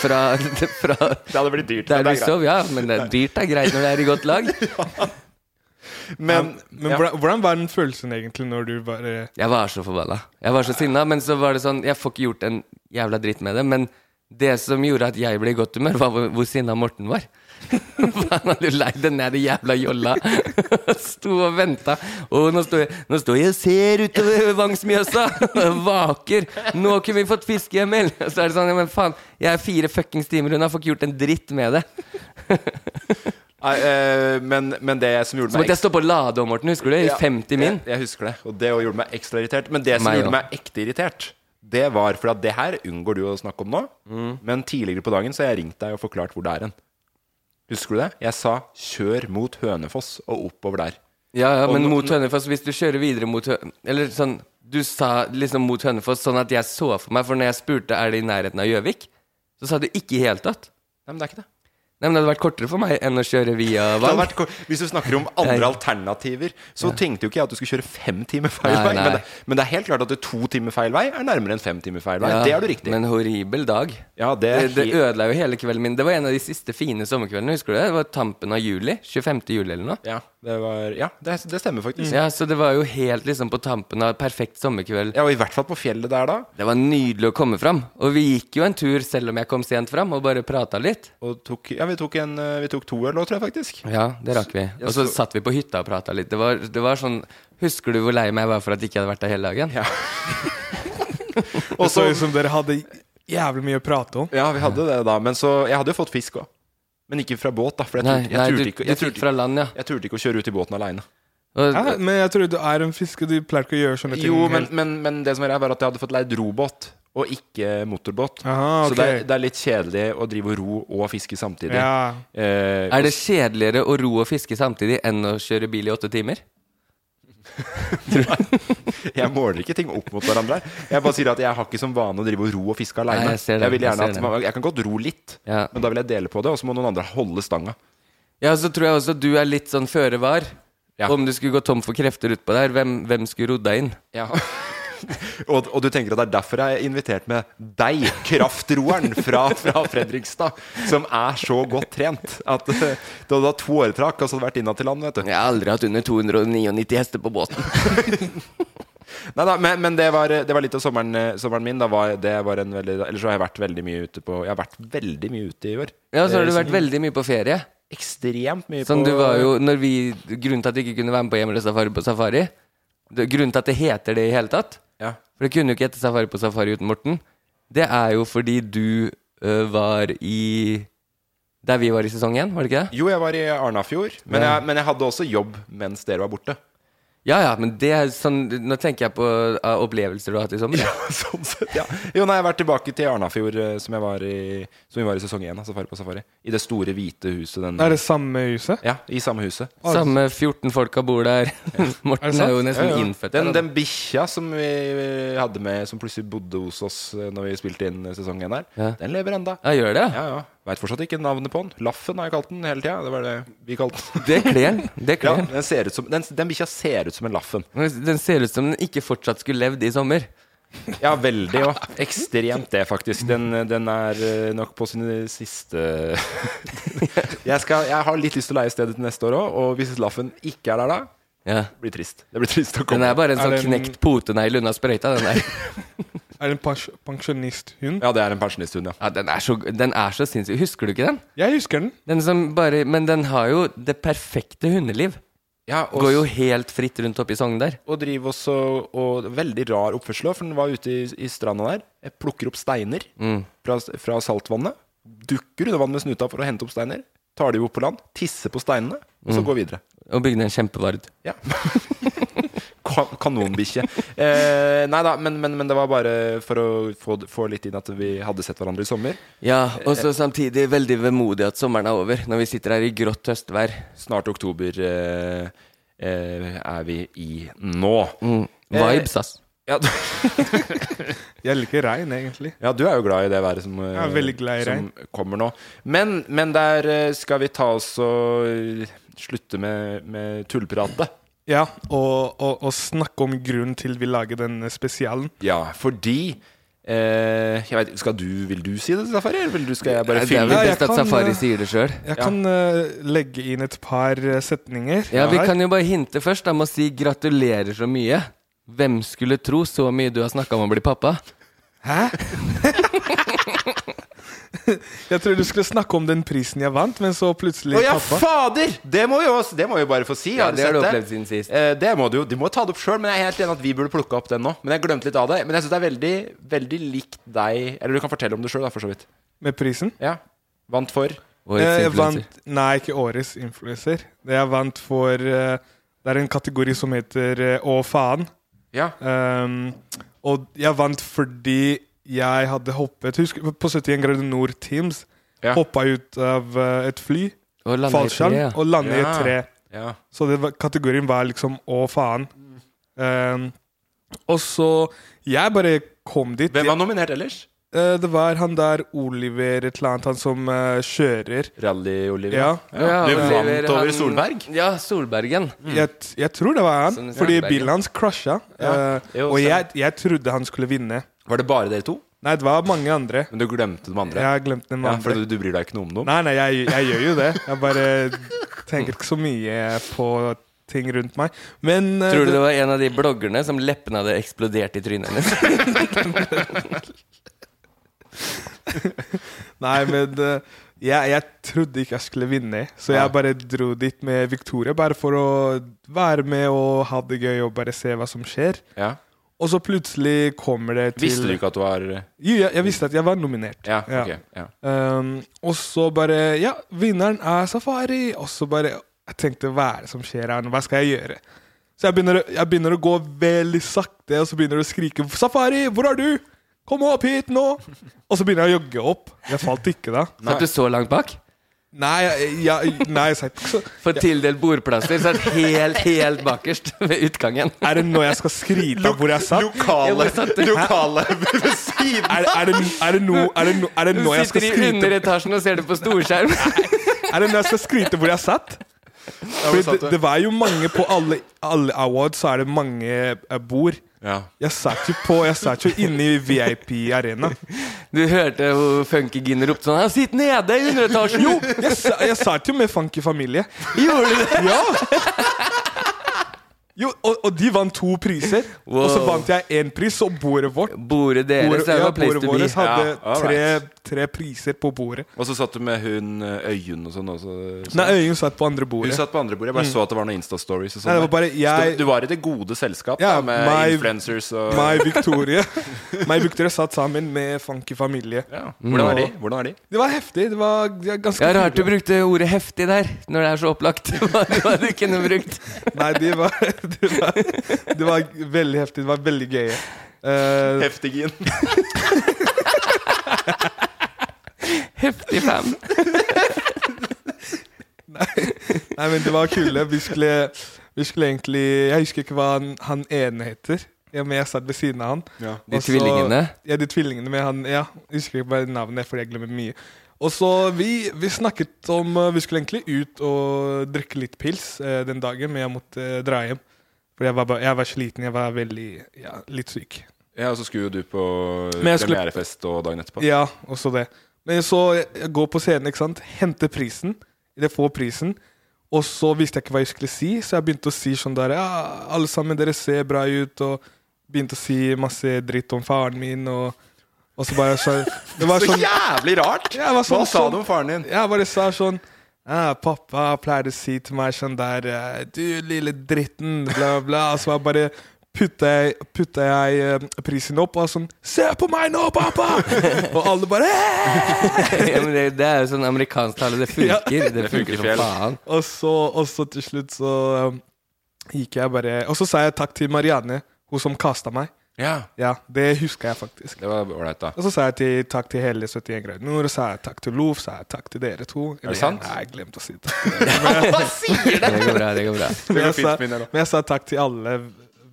Speaker 6: Fra, fra
Speaker 4: Det hadde blitt dyrt.
Speaker 6: der
Speaker 4: men det er
Speaker 6: vi
Speaker 4: greit.
Speaker 6: sov, ja. Men det er dyrt er greit når det er i godt lag.
Speaker 4: Men,
Speaker 5: Men
Speaker 4: ja.
Speaker 5: hvordan, hvordan var den følelsen egentlig når du bare
Speaker 6: Jeg var så forbanna. Jeg var så sinna, men så var det sånn Jeg får ikke gjort en jævla dritt med det, men det som gjorde at jeg ble i godt humør, var hvor, hvor sinna Morten var. For Han hadde jo leid den der jævla jolla sto og venta. Og nå står jeg, nå står jeg og ser utover Vangsmjøsa! Vaker! Nå kunne vi fått fiske, Emil! Og så er det sånn, ja, men faen, jeg er fire fuckings timer unna, får ikke gjort en dritt med det.
Speaker 4: Nei, eh, men, men det som gjorde
Speaker 6: Så
Speaker 4: meg
Speaker 6: måtte jeg stå på å lade om, Morten, husker du? I
Speaker 4: Ja,
Speaker 6: 50 min.
Speaker 4: Jeg, jeg husker det, og det gjorde meg ekstra irritert. Men det som
Speaker 6: Meg
Speaker 4: gjorde
Speaker 6: også.
Speaker 4: meg ekte irritert, det var for at det her unngår du å snakke om nå.
Speaker 6: Mm.
Speaker 4: Men tidligere på dagen så har jeg ringt deg og forklart hvor det er hen. Husker du det? Jeg sa 'kjør mot Hønefoss og oppover der'.
Speaker 6: Ja, ja,
Speaker 4: Og
Speaker 6: men
Speaker 4: nå-
Speaker 6: mot Hønefoss, hvis du kjører videre mot Hønefoss Eller sånn, du sa liksom mot Hønefoss sånn at jeg så for meg, for når jeg spurte er det i nærheten av Gjøvik, så sa du ikke i hele tatt.
Speaker 4: Nei, men det er ikke det.
Speaker 6: Nei, men det hadde vært kortere for meg enn å kjøre via
Speaker 4: det hadde
Speaker 6: Vang.
Speaker 4: vært, ko- hvis du snakker om andre alternativer, så tenkte jo ikke jeg at du skulle kjøre fem timer feil
Speaker 6: Nei,
Speaker 4: vei. Men
Speaker 6: nei.
Speaker 4: det, men det er helt klart at det to timer feil vei er nærmere enn fem timer feil vei.
Speaker 6: Ja,
Speaker 4: det er du riktig.
Speaker 6: Men horribel dag.
Speaker 4: ja, det er
Speaker 6: Det, det
Speaker 4: helt-
Speaker 6: ødela jo hele kvelden min. Det var en av de siste fine sommerkveldene, husker du det? Det var tampen av juli. 25. juli eller noe.
Speaker 4: ja, det, var, ja det, det stemmer faktisk.
Speaker 6: Ja, så det var jo helt liksom på tampen av perfekt sommerkveld.
Speaker 4: Ja, og i hvert fall på fjellet der da.
Speaker 6: Det var nydelig å komme fram. Og vi gikk jo en tur selv om jeg kom sent fram, og bare prata litt.
Speaker 4: Og tok, ja, vi tok, en, eh, vi tok to øl òg, tror jeg faktisk.
Speaker 6: Ja, det rakk vi. Og så satt vi på hytta og prata litt. Det var, det var sånn Husker du hvor lei meg jeg var for at jeg ikke hadde vært der hele dagen?
Speaker 4: Ja.
Speaker 5: Det
Speaker 4: Og
Speaker 5: så
Speaker 4: så
Speaker 5: ut som dere hadde jævlig mye å prate om.
Speaker 4: Ja, vi hadde det da. Men så Jeg hadde jo fått fisk òg. Men ikke fra båt, da. For jeg
Speaker 6: Nei,
Speaker 4: turte,
Speaker 6: nei
Speaker 4: jeg
Speaker 6: du,
Speaker 4: turte, ikke, jeg
Speaker 6: du fikk
Speaker 4: turte,
Speaker 6: fra land, ja.
Speaker 4: jeg turte ikke å kjøre ut i båten aleine.
Speaker 6: Og,
Speaker 5: Ja, men jeg tror du er en fisker, du pleier ikke å gjøre sånne ting.
Speaker 4: Jo, men,
Speaker 5: helt.
Speaker 4: men, men det som er greia, var at jeg hadde fått leid robåt, og ikke motorbåt.
Speaker 5: Aha,
Speaker 4: Så det er,
Speaker 5: ok.
Speaker 4: det er litt kjedelig å drive og ro og fiske samtidig.
Speaker 5: Ja.
Speaker 4: Eh,
Speaker 6: er det kjedeligere å ro og fiske samtidig enn å kjøre bil i åtte timer?
Speaker 4: Jeg måler ikke ting opp mot hverandre. her. Jeg bare sier at jeg har ikke som vane å drive og ro og fiske
Speaker 6: Nei,
Speaker 4: aleine.
Speaker 6: jeg
Speaker 4: Jeg,
Speaker 6: ser det.
Speaker 4: vil gjerne
Speaker 6: Jeg ser
Speaker 4: at
Speaker 6: det.
Speaker 4: man, jeg kan godt ro litt,
Speaker 6: Ja.
Speaker 4: men da vil jeg dele på det, og så må noen andre holde stanga.
Speaker 6: Ja, så tror jeg også du er litt sånn føre var.
Speaker 4: Ja.
Speaker 6: Om du skulle gå tom for krefter utpå der, hvem, hvem skulle rodd deg inn?
Speaker 4: og, og du tenker at det er derfor jeg er invitert med deg, kraftroeren fra, fra Fredrikstad, som er så godt trent at eh, du hadde hatt to åretrakk og så hadde du vært innad til land, vet du.
Speaker 6: Jeg har aldri hatt under 299 hester på båten.
Speaker 4: Nei da, men, men det, var, det var litt av sommeren, eh, sommeren min. Da var, det var en veldig, ellers så har jeg vært veldig mye ute på Jeg har vært veldig mye ute i år. Eh, sånn
Speaker 6: Ja, så har du vært veldig mye på ferie.
Speaker 4: Ekstremt mye
Speaker 6: Sånn,
Speaker 4: på
Speaker 6: du var jo, når vi, Grunnen til at du ikke kunne være med på hjemløs safari på safari, det- Grunnen til at det heter det i hele tatt
Speaker 4: Ja.
Speaker 6: For det kunne jo ikke hete Safari på Safari uten Morten Det er jo fordi du ø, var i Der vi var i sesong 1, var det ikke det?
Speaker 4: Jo, jeg var i Arnafjord, men, jeg, men jeg hadde også jobb mens dere var borte.
Speaker 6: Ja, ja, men det er sånn Nå tenker jeg på ø, opplevelser du har hatt i sommer
Speaker 4: sånn sett, ja. Jo, nei, jeg har vært tilbake til Arnafjord, eh, som, jeg var i, som vi var i sesong én av Safari på Safari. I det store, hvite huset. Den,
Speaker 5: Er det samme huset?
Speaker 4: Ja, I samme huset.
Speaker 6: Samme 14 folka bor der
Speaker 5: Er det
Speaker 6: Morten
Speaker 5: sant?
Speaker 6: er, jo nesten
Speaker 4: Ja, ja.
Speaker 6: innfødt
Speaker 4: Den,
Speaker 6: der, da.
Speaker 4: den bikkja som vi eh, hadde med, som plutselig bodde hos oss eh, Når vi spilte inn eh, sesong én her,
Speaker 6: Ja.
Speaker 4: den lever enda.
Speaker 6: Ja, gjør det?
Speaker 4: Ja, ja. Veit fortsatt ikke navnet på den. Laffen har jeg kalt den hele tida. Det var det vi kalte den.
Speaker 6: Det kler den. Det
Speaker 4: Ja,
Speaker 6: kler den.
Speaker 4: den ser ut som, den, den bikkja ser ut som en Laffen.
Speaker 6: Den ser ut som den ikke fortsatt skulle levd i sommer.
Speaker 4: Ja, veldig òg. Ekstremt det, faktisk. Den, den er eh, nok på sine siste jeg, skal, jeg har litt lyst til å leie stedet til neste år òg, og hvis Laffen ikke er der da,
Speaker 6: Ja.
Speaker 4: blir det trist. Det blir trist å
Speaker 6: Den
Speaker 4: komme.
Speaker 6: er bare en
Speaker 5: Er
Speaker 6: sånn
Speaker 5: det en-
Speaker 6: knekt potenegl unna sprøyta, den der.
Speaker 5: Er det en pens- pensjonisthund?
Speaker 4: Ja, det er en pensjonisthund, ja.
Speaker 6: Ja, den er så, den er så sinnssyk. Husker du ikke den?
Speaker 5: Jeg husker den.
Speaker 6: Den som bare, men den har jo det perfekte hundeliv.
Speaker 4: ja og,
Speaker 6: Går jo helt fritt rundt oppe i Sogn der.
Speaker 4: og driver også og Veldig rar oppførsel òg, for den var ute i, i stranda der. Jeg plukker opp steiner fra, fra saltvannet. Dukker under vannet med snuta for å hente opp steiner. Tar de opp på land, tisser på steinene, og så går videre.
Speaker 6: Og bygde en kjempevard.
Speaker 4: Ja. Ka- Kanonbikkje. Eh, nei da, men, men, men det var bare for å få, få litt inn at vi hadde sett hverandre i sommer.
Speaker 6: Ja, og så samtidig veldig vemodig at sommeren er over, når vi sitter her i grått høstvær.
Speaker 4: Snart oktober eh, eh, er vi i nå.
Speaker 6: Vibes, ass.
Speaker 4: Ja, du,
Speaker 5: Jeg liker regn, egentlig.
Speaker 4: ja, du er jo glad i det været som, eh,
Speaker 5: Jeg er veldig glad i
Speaker 4: som kommer nå. Men, men der eh, skal vi ta oss og eh, slutte med, med tullpratet.
Speaker 5: Ja, og, og, og snakke om grunnen til vi lager denne spesialen.
Speaker 4: Ja, fordi eh, jeg vet, skal du, Vil du si det, Safari? Eller vil du, skal jeg
Speaker 6: Det
Speaker 4: bare
Speaker 6: er vel
Speaker 4: fylle
Speaker 5: Ja, jeg
Speaker 6: best at
Speaker 5: kan, eh,
Speaker 6: Safari sier det sjøl.
Speaker 5: Jeg kan eh, legge inn et par eh, setninger.
Speaker 6: Ja, vi
Speaker 5: her.
Speaker 6: kan jo bare hinte først da med å si gratulerer så mye. Hvem skulle tro så mye du har snakka om å bli pappa?
Speaker 5: Jeg trodde du skulle snakke om den prisen jeg vant, men så plutselig
Speaker 4: Å ja,
Speaker 5: pappa.
Speaker 4: fader! Det må vi jo, det må vi jo bare få si.
Speaker 6: Ja,
Speaker 4: du
Speaker 6: det har
Speaker 4: sett
Speaker 6: du opplevd siden sist.
Speaker 4: Eh, det må du jo. Du må ta det opp sjøl, men jeg er helt enig at vi burde plukke opp den nå. Men jeg glemte litt av det. Men jeg syns det er veldig, veldig likt deg Eller du kan fortelle om det sjøl, da, for så vidt.
Speaker 5: Med prisen.
Speaker 4: Ja. Vant for
Speaker 6: Årets
Speaker 5: Eh, jeg
Speaker 6: influencer.
Speaker 5: vant, nei, ikke årets influenser. Det jeg vant for eh, Det er en kategori som heter eh, Å, faen.
Speaker 4: Ja.
Speaker 5: Um, og jeg vant fordi jeg hadde hoppet Husk på 71 grader Nord Teams.
Speaker 4: Ja.
Speaker 5: Hoppa ut av eh, et fly,
Speaker 6: Og landet i
Speaker 5: fallskjerm,
Speaker 6: tre, ja.
Speaker 5: og landet i
Speaker 4: Ja.
Speaker 5: et tre.
Speaker 4: ja.
Speaker 5: Så det var, kategorien var liksom 'å, faen'. Um, og så Jeg bare kom dit.
Speaker 4: Hvem var nominert ellers?
Speaker 5: Eh, det var han der Oliver et eller annet, han som eh, kjører.
Speaker 4: Rally-Olivia.
Speaker 5: Ja.
Speaker 6: Ja,
Speaker 4: du vant
Speaker 6: Oliver,
Speaker 4: over
Speaker 6: han-
Speaker 4: Solberg?
Speaker 6: Ja, Solbergen.
Speaker 5: Jeg, t- jeg tror det var
Speaker 6: Som
Speaker 5: han,
Speaker 6: det
Speaker 5: fordi
Speaker 6: Solberg,
Speaker 5: bilen hans krasja.
Speaker 4: Ja.
Speaker 5: eh,
Speaker 4: Jo,
Speaker 5: og
Speaker 4: stemmer.
Speaker 5: jeg, jeg trodde han skulle vinne.
Speaker 4: Var det bare dere to?
Speaker 5: Nei, det var mange andre.
Speaker 4: Men du glemte de andre?
Speaker 5: Jeg har glemt den
Speaker 4: Ja,
Speaker 5: andre.
Speaker 4: for du, du bryr deg ikke noe om dem?
Speaker 5: Nei, nei, jeg, jeg gjør jo det. Jeg bare tenker ikke så mye på ting rundt meg. Men eh,
Speaker 6: Tror du det var en av de bloggerne som leppene hadde eksplodert i trynet hennes?
Speaker 5: Nei, men eh, jeg, jeg trodde ikke jeg skulle vinne, så jeg bare dro dit med Victoria. Bare for å være med og ha det gøy og bare se hva som skjer.
Speaker 4: Ja.
Speaker 5: Og så plutselig kommer det til
Speaker 4: Visste du ikke at du var
Speaker 5: Jo, jeg, jeg visste at jeg var nominert.
Speaker 4: Ja, ok. Ja.
Speaker 5: Um, og så bare Ja, vinneren er Safari. Og så bare Jeg tenkte, hva er det som skjer her nå? Hva skal jeg gjøre? Så jeg begynner, å- jeg begynner å gå veldig sakte, og så begynner du å skrike 'Safari, hvor er du? Kom opp hit nå!' Og så begynner jeg å jogge opp. Jeg falt ikke da.
Speaker 6: Satt du så langt bak?
Speaker 5: Nei, jeg, jeg, nei, jeg sa ikke så
Speaker 6: For tildelt bordplasser satt helt, helt bakerst ved utgangen.
Speaker 5: Er det nå jeg skal skryte av hvor jeg satt?
Speaker 6: Jeg bare
Speaker 4: Lokale,
Speaker 6: satt-
Speaker 4: lokale ved siden
Speaker 5: Er, er, det, er, det nå, er, det nå, er det
Speaker 6: Du
Speaker 5: nå jeg skal
Speaker 6: sitter i
Speaker 5: skryte
Speaker 6: underetasjen og ser det på storskjerm.
Speaker 5: Er det nå jeg skal skryte hvor jeg satt? Fordi
Speaker 4: satt du?
Speaker 5: det, det var jo mange på alle, alle awards, så er det mange eh, bord.
Speaker 4: Ja.
Speaker 5: Jeg satt jo på Jeg satt jo inne i VIP-arena.
Speaker 6: Du hørte hun funkygine ropte sånn 'Sitt nede i underetasjen!'
Speaker 5: Jo, jeg, sa, jeg satt jo med funky familie.
Speaker 6: Gjorde du det?
Speaker 5: Ja! Jo, og, og de vant to priser. Og så
Speaker 6: Wow.
Speaker 5: vant jeg én pris, og bordet vårt
Speaker 6: Bordet deres
Speaker 5: Bordet,
Speaker 6: er
Speaker 5: ja,
Speaker 6: jo place
Speaker 5: bordet
Speaker 6: to be.
Speaker 5: vårt hadde
Speaker 4: Ja, all
Speaker 5: tre,
Speaker 4: right.
Speaker 5: tre priser på bordet.
Speaker 4: Og så satt du med hun eh, Øyunn og sånn også. Så.
Speaker 5: Nei, Øyunn satt på andre
Speaker 4: Hun
Speaker 5: bordet.
Speaker 4: satt på andre bordet. Jeg bare så at det var noen Insta-stories. og sånn
Speaker 5: Nei, det var
Speaker 4: der.
Speaker 5: bare
Speaker 4: Så
Speaker 5: jeg-
Speaker 4: du var i det gode selskap
Speaker 5: Ja,
Speaker 4: da, med
Speaker 5: my-
Speaker 4: influencers og
Speaker 5: Meg og Victoria Meg og Victoria satt sammen med funky familie.
Speaker 4: ja. Hvordan er de?
Speaker 5: Mm.
Speaker 4: Hvordan er de?
Speaker 5: Det var heftig. Det var de var ganske
Speaker 6: Ja, Rart du
Speaker 5: kule.
Speaker 6: brukte ordet 'heftig' der, når det er så opplagt hva hva du kunne brukt.
Speaker 5: Nei, de var, de var, de var veldig heftig. De var veldig gøye. Eh,
Speaker 4: Heftigen.
Speaker 6: Heftig fan.
Speaker 5: nei, men de var kule. Vi skulle, vi skulle egentlig Jeg husker ikke hva han, han ene heter. Ja, men jeg satt ved siden av han.
Speaker 6: De
Speaker 5: Og så-
Speaker 6: tvillingene?
Speaker 5: Ja, de tvillingene med han Ja, jeg husker ikke bare navnet, for jeg glemmer mye. Og så vi, vi snakket om eh, Vi skulle egentlig ut og drikke litt pils eh, den dagen, men jeg måtte eh, dra hjem. For jeg var, bare, jeg var sliten. Jeg var veldig ja, litt syk.
Speaker 4: Ja, og så skulle jo du på
Speaker 5: Men jeg skulle-
Speaker 4: premierefest og dagen etterpå.
Speaker 5: Ja, også det. Men så jeg, jeg går på scenen, ikke sant. Henter prisen. Eller får prisen. Og så visste jeg ikke hva jeg skulle si, så jeg begynte å si sånn der Ja, alle sammen, dere ser bra ut, og begynte å si masse dritt om faren min, og, og så bare så, Det var
Speaker 4: Så
Speaker 5: sånn
Speaker 4: jævlig rart!
Speaker 5: Ja, det var sånn-
Speaker 4: Hva sa
Speaker 5: sånn-
Speaker 4: du om faren din?
Speaker 5: Jeg bare sa sånn ja, Pappa pleide å si til meg sånn der eh, Du, lille dritten, bla, bla. Og så var jeg bare putta jeg, putta jeg eh, prisen opp og sånn Se på meg nå, pappa! og alle bare «Eh!»
Speaker 6: Ja, men det, det er jo sånn amerikansk tale. Det funker.
Speaker 5: Ja.
Speaker 6: Det
Speaker 4: funker
Speaker 6: funker
Speaker 4: fjell.
Speaker 6: som faen.
Speaker 5: og, så, og så til slutt så eh, gikk jeg bare Og så sa jeg takk til Marianne, hun som kasta meg.
Speaker 4: Ja,
Speaker 5: Ja, det huska jeg faktisk.
Speaker 4: det var ålreit, da.
Speaker 5: Og så sa jeg til, takk til hele 71 grader nord, og sa jeg takk til Lof, sa jeg takk til dere to. Eller,
Speaker 4: sant?
Speaker 5: Nei, jeg glemte å si det.
Speaker 6: Det går bra. det går bra
Speaker 5: Men
Speaker 4: går
Speaker 5: jeg,
Speaker 4: fint,
Speaker 5: sa,
Speaker 4: min del også.
Speaker 5: men jeg sa takk til alle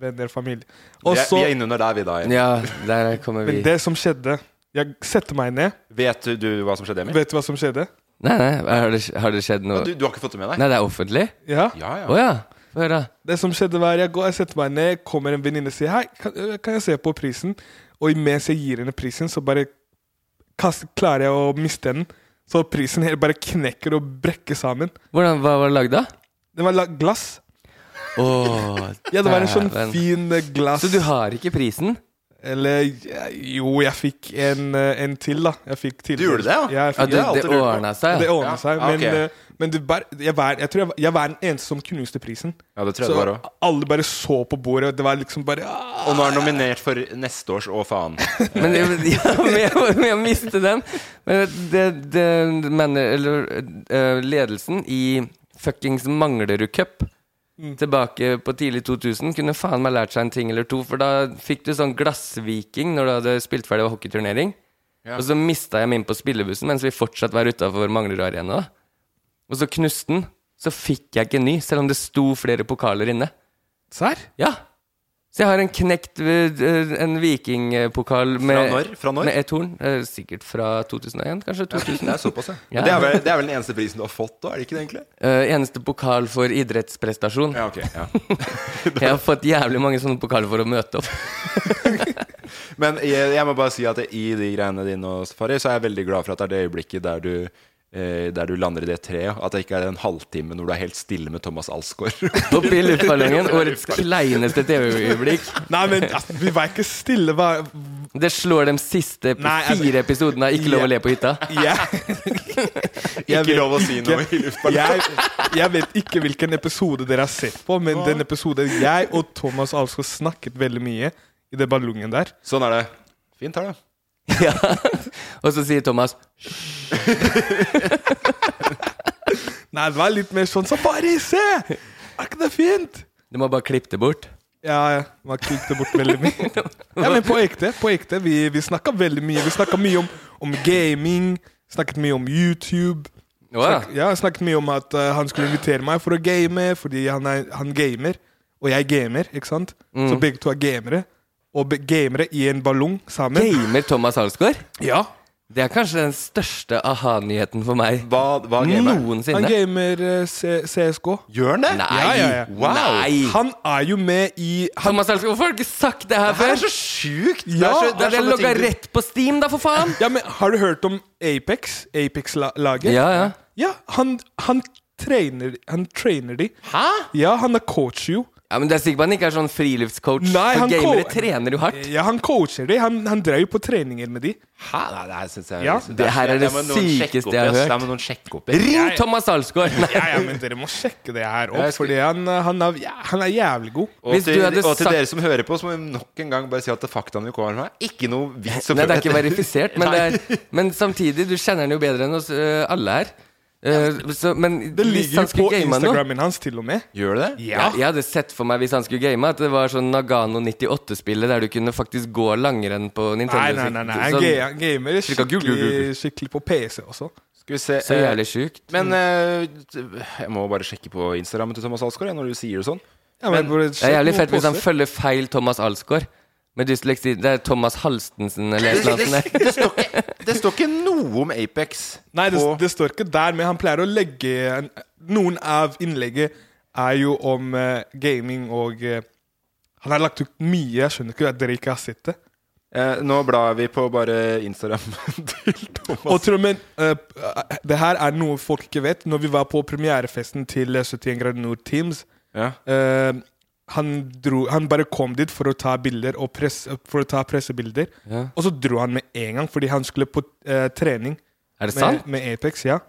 Speaker 5: venner og familie.
Speaker 4: Vi
Speaker 5: Og
Speaker 4: er,
Speaker 5: så,
Speaker 4: vi er innunder der, vi da. igjen.
Speaker 6: Ja, der kommer vi.
Speaker 5: men det som skjedde Jeg setter meg ned.
Speaker 4: Vet du, du hva som skjedde, Emil?
Speaker 5: Vet du hva som skjedde?
Speaker 6: Nei, nei, har det, har det skjedd noe
Speaker 4: Du, du har ikke fått det med deg?
Speaker 6: Nei, det er offentlig?
Speaker 5: Ja.
Speaker 4: Ja, ja.
Speaker 6: Å ja. Få høre.
Speaker 5: Det som skjedde var Jeg går, jeg setter meg ned, kommer en venninne og sier Hei, kan, øh, kan jeg se på prisen? Og mens jeg gir henne prisen, så bare kast, klarer jeg å miste den. Så prisen helt bare knekker og brekker sammen.
Speaker 6: Hvordan, hva var det lagd av?
Speaker 5: Den var la glass.
Speaker 6: Åh,
Speaker 5: Ja, det var en sånn
Speaker 6: dæven.
Speaker 5: fin eh, glass
Speaker 6: Så du har ikke prisen?
Speaker 5: Eller ja, Jo, jeg fikk en, eh, en til, da. Jeg fikk til.
Speaker 4: gjorde det, ja?
Speaker 5: ja jeg
Speaker 6: Ja,
Speaker 5: fikk
Speaker 6: du,
Speaker 4: Det har jeg
Speaker 6: det
Speaker 4: alltid lurt på.
Speaker 6: ordna seg? ja.
Speaker 5: Det
Speaker 4: Ja, Ah,
Speaker 5: ordnet seg. Men,
Speaker 4: ok.
Speaker 5: eh, men det bare, jeg, var, jeg tror jeg, var- jeg var den eneste som knuste prisen.
Speaker 4: Ja, det tror jeg det
Speaker 5: Så
Speaker 4: var òg.
Speaker 5: alle bare så på bordet, og det var liksom bare ah.
Speaker 4: Og nå er den nominert for neste års Å faen.
Speaker 6: Men, ja, men jeg, men jeg mistet den. Men det, det mener Eller eh, ledelsen i fuckings Manglerud Cup tilbake på tidlig 2000 kunne faen meg lært seg en ting eller to, for da fikk du sånn glassviking når du hadde spilt ferdig hockeyturnering. Og så mista jeg meg inn på spillebussen mens vi fortsatt var utafor Manglerud Arena. da. Og så knuste den. Så fikk jeg ikke en ny, selv om det sto flere pokaler inne.
Speaker 5: Serr?
Speaker 6: Ja. Så jeg har en knekt eh, En vikingpokal med,
Speaker 4: når? Fra når?
Speaker 6: med ett horn. Eh, Sikkert fra 2001, kanskje. 2000.
Speaker 4: Det er såpass, ja.
Speaker 6: Ja.
Speaker 4: Men Det, er vel, det er vel den eneste prisen du har fått, da? Er det ikke det, egentlig?
Speaker 6: Eh, eneste pokal for idrettsprestasjon.
Speaker 4: Ja, ok. Ja.
Speaker 6: Jeg har fått jævlig mange sånne pokaler for å møte opp.
Speaker 4: Men jeg, jeg må bare si at i de greiene dine og Safari, så er jeg veldig glad for at det er det øyeblikket der du eh, der du lander i det treet. At det ikke er en halvtime når du er helt stille med Thomas Alsgaard.
Speaker 6: Opp i luftballongen. Årets kleineste TV-øyeblikk.
Speaker 5: Nei, men altså, vi var ikke stille. Var,
Speaker 6: Det slår de siste
Speaker 5: Nei, altså-
Speaker 6: fire episodene av Ikke lov å le på hytta.
Speaker 5: jeg, Jeg
Speaker 4: ikke
Speaker 5: vet
Speaker 4: lov å si noe i luftballongen.
Speaker 5: jeg, jeg vet ikke hvilken episode dere har sett på, men den episoden jeg og Thomas Alsgaard snakket veldig mye i den ballongen der.
Speaker 4: Sånn er det. Fint her, da.
Speaker 6: Ja. Og så sier Thomas
Speaker 5: Nei, det var litt mer sånn Safari, se! Er ikke det fint?
Speaker 6: Du må bare klippe det bort.
Speaker 5: Ja, ja. Man klikket bort veldig mye. Ja, men på ekte. på ekte Vi, vi snakka veldig mye. Vi snakka mye om, om gaming. Snakket mye om YouTube.
Speaker 6: Å ja.
Speaker 5: Ja, Snakket mye om at eh, han skulle invitere meg for å game, fordi han, er, han gamer. Og jeg gamer, ikke sant? Så begge to er gamere. Og be gamere i en ballong sammen.
Speaker 6: Gamer Thomas Alsgaard?
Speaker 5: Ja,
Speaker 6: Det er kanskje den største aha-nyheten for meg
Speaker 4: Hva, hva gamet er?
Speaker 5: Han
Speaker 6: noensinne.
Speaker 5: gamer eh, C CSGO.
Speaker 4: Gjør han det?
Speaker 6: Nei!
Speaker 5: Ja, ja, ja.
Speaker 6: Wow! Nei.
Speaker 5: Han er jo med i han,
Speaker 6: Thomas Alsgaard, hvorfor har du ikke sagt det her
Speaker 4: Det
Speaker 6: før?
Speaker 4: er så sjukt!
Speaker 6: Ja,
Speaker 4: så-
Speaker 6: det er
Speaker 4: sånne
Speaker 6: logga
Speaker 4: ting du-
Speaker 6: rett på Steam, da, for faen!
Speaker 5: Ja, men Har du hørt om Apex? Apex-laget?
Speaker 6: Ja, ja.
Speaker 5: Ja, han, han trener Han trener de.
Speaker 4: Hæ?
Speaker 5: Ja, han er coach, jo.
Speaker 6: Ja, men Du er sikker på han ikke er sånn friluftscoach?
Speaker 5: Nei,
Speaker 6: For
Speaker 5: han
Speaker 6: gamere
Speaker 5: co-
Speaker 6: trener jo hardt.
Speaker 5: Ja, han coacher de. Han, han drev jo på treninger med de.
Speaker 4: Hæ? Nei, det her synes jeg
Speaker 5: Ja.
Speaker 4: liksom-
Speaker 6: Ah, Det her er
Speaker 4: der
Speaker 6: det
Speaker 4: må noen sjekke
Speaker 6: sykeste
Speaker 4: opp
Speaker 6: jeg har
Speaker 4: i, ass.
Speaker 6: hørt.
Speaker 4: Der må noen sjekke opp i.
Speaker 6: Ring Thomas Alsgaard! Nei.
Speaker 5: Ja, ja, men dere må sjekke det her
Speaker 4: Jeg
Speaker 5: opp,
Speaker 4: skal-
Speaker 5: fordi han, han, er, ja, han er jævlig god.
Speaker 4: Og
Speaker 6: Hvis
Speaker 4: til,
Speaker 6: du hadde
Speaker 4: og til
Speaker 6: sagt-
Speaker 4: dere som hører på, så må vi nok en gang bare si at det faktaene vi kommer med, er ikke noe vits å
Speaker 6: Nei, det
Speaker 4: følge
Speaker 6: er ikke
Speaker 4: etter.
Speaker 6: verifisert, men,
Speaker 4: Nei.
Speaker 6: det er, men samtidig, du kjenner han jo bedre enn oss øh, alle her. Øh, så, men
Speaker 5: Det
Speaker 6: hvis
Speaker 5: ligger
Speaker 6: han
Speaker 5: jo på
Speaker 6: skulle game han nå
Speaker 5: Instagrammen hans, til og med.
Speaker 4: Gjør det det?
Speaker 6: ja. Jeg hadde sett for meg hvis han skulle game at det var sånn Nagano 98-spillet der du kunne faktisk gå langrenn på
Speaker 5: Nei,
Speaker 6: Nintendo.
Speaker 5: nei, nei. nei. Han,
Speaker 6: Sånn-
Speaker 5: ga- han gamer
Speaker 6: Trykka gul, gul, gul, gul.
Speaker 5: skikkelig, skikkelig på PC også.
Speaker 4: Skal vi se
Speaker 6: Så
Speaker 4: eh,
Speaker 6: jævlig sjukt.
Speaker 4: Men eh, jeg må bare sjekke på Instagrammen til Thomas Alsgaard jeg, når du sier det sånn.
Speaker 5: Ja, men, bare
Speaker 6: Det er
Speaker 5: sjekk
Speaker 6: jævlig
Speaker 5: noen
Speaker 6: fett hvis han
Speaker 5: poster.
Speaker 6: følger feil Thomas Alsgaard. Med dysleksi Det er Thomas Halstensen eller et eller annet. sånt der.
Speaker 4: Det står ikke noe om Apex.
Speaker 5: Nei, det,
Speaker 4: på-
Speaker 5: det står ikke der, men han pleier å legge en, Noen av innlegget er jo om eh, gaming og eh, Han har lagt ut mye. Jeg skjønner ikke at dere ikke har sett det.
Speaker 4: Eh, nå blar vi på bare Instagrammen til
Speaker 5: Og
Speaker 4: Thomas.
Speaker 5: tro meg, eh, det her er noe folk ikke vet. Når vi var på premierefesten til eh, 71 grader nord Teams
Speaker 4: Ja.
Speaker 5: eh, han, dro, han bare kom dit for å ta bilder og press, for å ta pressebilder. Og så dro han med en gang, fordi han skulle på eh, trening
Speaker 6: Er det
Speaker 5: med,
Speaker 6: sant?
Speaker 5: med Apex. Ja.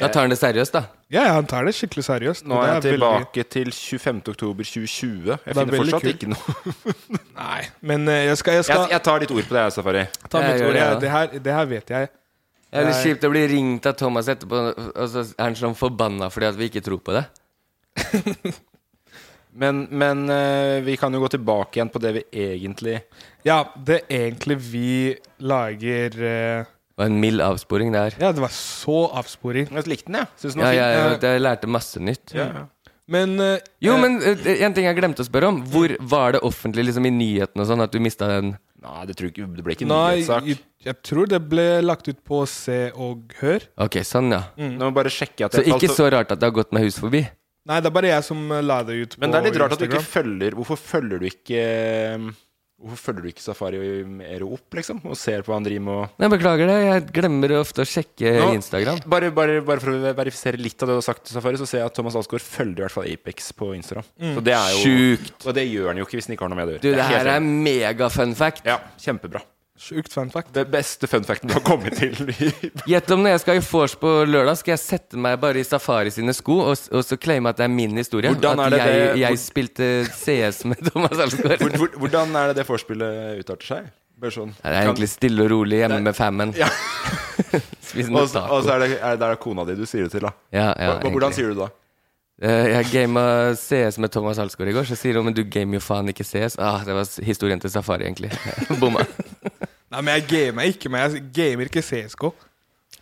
Speaker 6: Da tar han det seriøst, da.
Speaker 5: ja, ja, han tar det skikkelig seriøst.
Speaker 4: Nå
Speaker 5: og
Speaker 4: er
Speaker 5: det
Speaker 4: jeg tilbake til 25. oktober 2020. Jeg finner
Speaker 5: veldig
Speaker 4: fortsatt
Speaker 5: kult.
Speaker 4: ikke noe
Speaker 5: Nei, men eh, jeg skal, jeg skal
Speaker 4: jeg, jeg tar ditt ord på det, jeg, Safari.
Speaker 5: ta
Speaker 6: Jeg
Speaker 5: mitt
Speaker 6: gjør
Speaker 5: ord.
Speaker 6: det,
Speaker 5: Ja.
Speaker 6: ja.
Speaker 5: Det, her, det her vet jeg.
Speaker 6: Det er litt
Speaker 5: Nei.
Speaker 6: kjipt å bli ringt av Thomas etterpå, og så er han sånn forbanna fordi at vi ikke tror på det.
Speaker 4: Men, men eh, vi kan jo gå tilbake igjen på det vi egentlig
Speaker 5: Eh, Ja, det er egentlig vi lager eh,
Speaker 6: Det var en mild avsporing, det her.
Speaker 5: Ja, det var så avsporing. Mm.
Speaker 4: Jeg likte den, jeg. Synes den
Speaker 6: Ja,
Speaker 4: var
Speaker 6: ja,
Speaker 4: fin. Eh,
Speaker 6: ja, jeg lærte masse nytt.
Speaker 5: Men eh,
Speaker 6: Jo,
Speaker 5: eh,
Speaker 6: men eh, en ting jeg glemte å spørre om. Hvor var det offentlig liksom i nyhetene og sånn at du mista den?
Speaker 4: Nei, det, tror jeg, ikke- det ble ikke en
Speaker 5: Nei,
Speaker 4: nyhetssak.
Speaker 5: jeg, jeg tror det ble lagt ut på Se og Hør.
Speaker 6: Ok, sånn, ja.
Speaker 4: Nå må jeg bare sjekke at
Speaker 6: Så
Speaker 4: jeg altså,
Speaker 6: ikke
Speaker 4: falt-
Speaker 6: så rart at det har gått meg hus forbi.
Speaker 5: Nei, det er bare jeg som eh, la det ut på
Speaker 4: Men det er litt rart at du ikke
Speaker 5: Instagram.
Speaker 4: følger Hvorfor følger du ikke eh, Hvorfor følger du ikke Safari mer opp, liksom? Og ser på hva han driver med og
Speaker 6: Nei, beklager det. Jeg glemmer ofte å sjekke
Speaker 4: Nå-
Speaker 6: Instagram.
Speaker 4: Bare, bare, bare for å verifisere litt av det du har sagt, til Safari, så ser jeg at Thomas Alsgaard følger i hvert fall Apex på Instagram. Så det er jo
Speaker 6: Sjukt.
Speaker 4: Og det gjør han jo ikke hvis han ikke har noe med Mm. det å gjøre.
Speaker 6: Du, det
Speaker 4: helt
Speaker 6: her er
Speaker 4: enig.
Speaker 6: mega fun fact.
Speaker 4: Ja, kjempebra.
Speaker 5: Sjukt fun fact.
Speaker 4: Det beste fun facten du har kommet til. i-
Speaker 6: Gjett om når jeg skal i vors på lørdag, skal jeg sette meg bare i Safari sine sko og, s- og så claime at det er min historie.
Speaker 4: Hvordan
Speaker 6: at
Speaker 4: er det
Speaker 6: jeg,
Speaker 4: det- hvor-
Speaker 6: jeg spilte CS med Thomas Alsgaard.
Speaker 4: Hvor- hvor- Hvordan er det det vorspielet utarter seg? Bare sånn.
Speaker 6: Det er egentlig stille og rolig hjemme
Speaker 4: Nei.
Speaker 6: med fammen.
Speaker 4: Ja.
Speaker 6: Spise
Speaker 4: Kan- Og
Speaker 6: noe
Speaker 4: så og
Speaker 6: taco.
Speaker 4: så er det, er det er det kona di du sier det til, da.
Speaker 6: Ja, ja,
Speaker 4: Hva- Hvordan
Speaker 6: egentlig.
Speaker 4: sier du det da?
Speaker 6: Eh, Jeg gama CS med Thomas Alsgaard i går, så sier hun men du gamer jo faen ikke CS. Ah, det var s- historien til Safari, egentlig. Bomma.
Speaker 5: Nei, men jeg gamer ikke, men jeg gamer ikke CSK.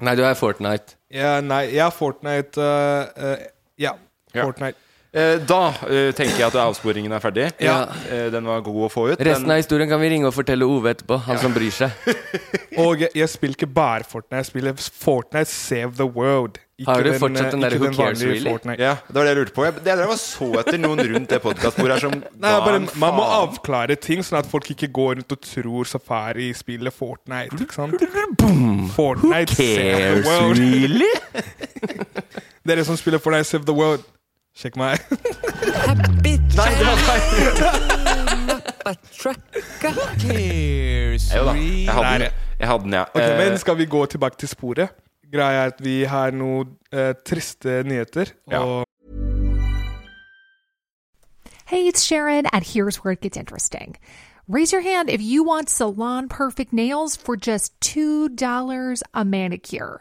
Speaker 6: Nei, du er Fortnite.
Speaker 5: Ja, nei, jeg er Fortnite eh, eh, Ja,
Speaker 4: Ja.
Speaker 5: Fortnite.
Speaker 4: Eh, Da eh, tenker jeg at avsporingen er ferdig.
Speaker 6: Ja.
Speaker 4: Eh, Den var god å få ut.
Speaker 6: Resten
Speaker 4: Den-
Speaker 6: av historien kan vi ringe og fortelle Ove etterpå, han som bryr seg.
Speaker 5: Og jeg, jeg spiller ikke bare Fortnite, jeg spiller Fortnite Save the World. Ikke
Speaker 6: Har du
Speaker 5: eh,
Speaker 6: fortsatt den der
Speaker 5: ikke
Speaker 6: Who Cares,
Speaker 5: vanlige
Speaker 6: Really?
Speaker 5: Fortnite.
Speaker 4: Ja, det var det jeg lurte på. Jeg, det, jeg så etter noen rundt det podkastbordet her som
Speaker 5: Nei,
Speaker 4: ga
Speaker 5: bare,
Speaker 4: en
Speaker 5: man må
Speaker 4: faen.
Speaker 5: avklare ting, sånn at folk ikke går rundt og tror Safari spiller Fortnite. ikke sant? Fortnite Save the World.
Speaker 6: really?
Speaker 5: Dere som spiller Fortnite Save the World, sjekk meg.
Speaker 4: Nei, det var feil. Jo da, jeg hadde
Speaker 5: Der, ja.
Speaker 4: den, jeg. Hadde den, ja.
Speaker 5: Ok,
Speaker 4: Eh,
Speaker 5: men skal vi gå tilbake til sporet? Greia er at vi har noen eh, triste nyheter.
Speaker 4: Ja.
Speaker 5: Og
Speaker 8: Hey, it's Sharon, and here's where it gets interesting. Raise your hand if you want salon perfect nails for just $2 a manicure.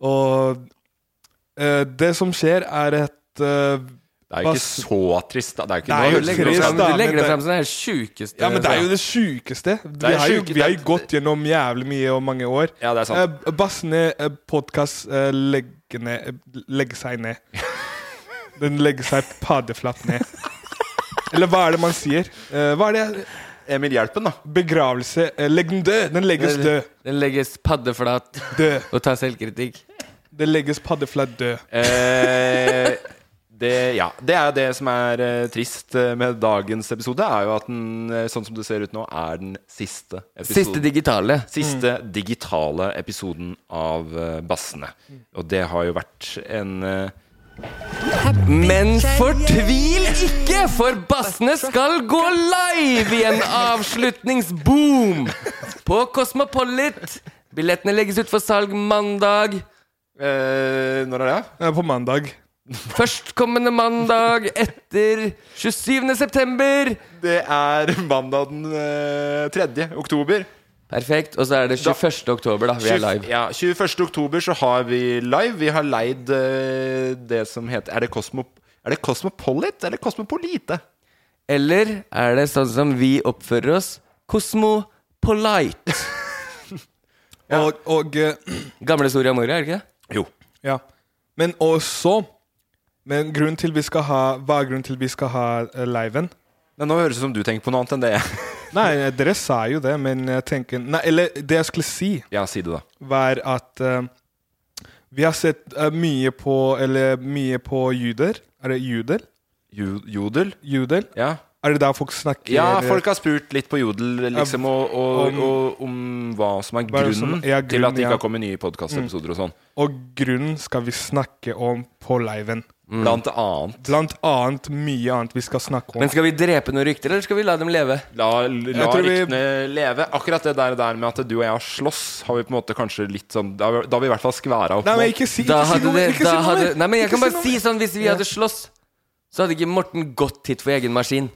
Speaker 5: Og eh, det som skjer, er et eh,
Speaker 4: Det er jo ikke
Speaker 5: bas-
Speaker 4: så trist, da. Det er jo ikke
Speaker 5: Det er jo
Speaker 4: noe-
Speaker 5: trist, da,
Speaker 6: Du
Speaker 5: men
Speaker 6: legger det
Speaker 5: det-
Speaker 6: frem som det helt sjukeste
Speaker 5: Ja, men det er jo det sjukeste.
Speaker 6: Det er
Speaker 5: eh, Vi har jo,
Speaker 6: sjukt,
Speaker 5: vi har
Speaker 6: det-
Speaker 5: jo gått gjennom jævlig mye og mange år.
Speaker 4: Ja, det er sant.
Speaker 5: Eh, Bass ned eh, podcast eh, legge, ned, eh, legge seg ned. Den legger seg paddeflatt ned. Eller hva er det man sier? Eh, hva er det? jeg-
Speaker 4: Emil Hjelpen, da.
Speaker 5: Begravelse. eh, Legg den død! Den legges død.
Speaker 6: Den legges paddeflat
Speaker 5: Død.
Speaker 6: og tar selvkritikk.
Speaker 5: Den legges paddeflat død.
Speaker 4: Eh, det, ja, det er jo det som er eh, trist eh, med dagens episode, er jo at den, eh, sånn som det ser ut nå, er den siste mm. episoden.
Speaker 6: Siste digitale.
Speaker 4: Siste digitale episoden av eh, Bassene. Og det har jo vært en eh,
Speaker 6: Men fortvil ikke, for bassene skal gå live i en avslutningsboom på Cosmopolit. Billettene legges ut for salg mandag.
Speaker 4: eh, når er det?
Speaker 5: Eh, på mandag.
Speaker 6: Førstkommende mandag etter 27. september.
Speaker 4: Det er mandag den eh, 3. oktober.
Speaker 6: Perfekt. Og så er det 21. oktober, da. Vi er live.
Speaker 4: Ja, 21. oktober så har vi live. Vi har leid eh, det som heter Er det, Cosmo, er det Cosmopolit eller Cosmopolite?
Speaker 6: Eller er det sånn som vi oppfører oss? Cosmopolite.
Speaker 5: Og, og eh,
Speaker 6: Gamle Soria Moria, er det ikke det?
Speaker 4: Jo.
Speaker 5: Ja. Men også Men grunnen til vi skal ha Hva er grunnen til vi skal ha eh, liven?
Speaker 4: Nei, nå høres det ut som du tenker på noe annet enn det.
Speaker 5: Nei, dere sa jo det, men jeg tenker Nei, eller det jeg skulle si,
Speaker 4: ja, si det, da.
Speaker 5: var at eh, vi har sett eh, mye på Eller mye på juder. Er det juder?
Speaker 4: Jodel?
Speaker 5: Judel?
Speaker 4: Ja.
Speaker 5: Er det der folk snakker
Speaker 4: Ja, folk har spurt litt på Jodel liksom, og, og,
Speaker 5: Om-
Speaker 4: og om hva som er
Speaker 5: Hva er
Speaker 4: grunnen
Speaker 5: det som-
Speaker 4: til
Speaker 5: ja,
Speaker 4: at
Speaker 5: grunnen,
Speaker 4: det ikke
Speaker 5: ja.
Speaker 4: har kommet nye podkastepisoder og sånn.
Speaker 5: Og grunnen skal vi snakke om på liven.
Speaker 4: Blant annet.
Speaker 5: Blant annet mye annet vi skal snakke om.
Speaker 6: Men skal vi drepe noen rykter, eller skal vi la dem leve?
Speaker 4: La, la
Speaker 5: tror vi-
Speaker 4: ryktene leve. Akkurat det der, der med at du og jeg har slåss, har vi på en måte kanskje litt sånn Da, da har vi i hvert fall skværa opp
Speaker 5: Nei, men
Speaker 4: nå.
Speaker 5: ikke si,
Speaker 6: Da
Speaker 5: ikke si
Speaker 6: hadde
Speaker 5: noe
Speaker 6: det,
Speaker 5: mer! Ikke
Speaker 6: da
Speaker 5: si noe
Speaker 6: hadde,
Speaker 5: mer!
Speaker 6: nei, men jeg
Speaker 5: Ikke
Speaker 6: kan
Speaker 5: si
Speaker 6: bare
Speaker 5: noe
Speaker 6: si
Speaker 5: mer.
Speaker 6: sånn Hvis vi hadde slåss, så hadde ikke Morten gått hit for egen maskin.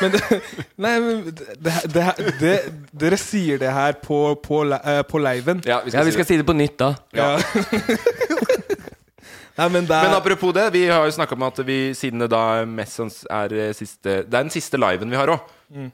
Speaker 5: Men det, nei, men det, det, det, dere sier det her på, på, li- eh, på liven.
Speaker 4: Ja, vi
Speaker 6: Ja, vi skal si det på nytt da.
Speaker 5: Ja. Nei, men det
Speaker 4: Men
Speaker 5: er
Speaker 4: apropos det, vi har jo snakka om at vi siden det da mest sanns er eh, siste Det er den siste liven vi har òg.
Speaker 5: Mm.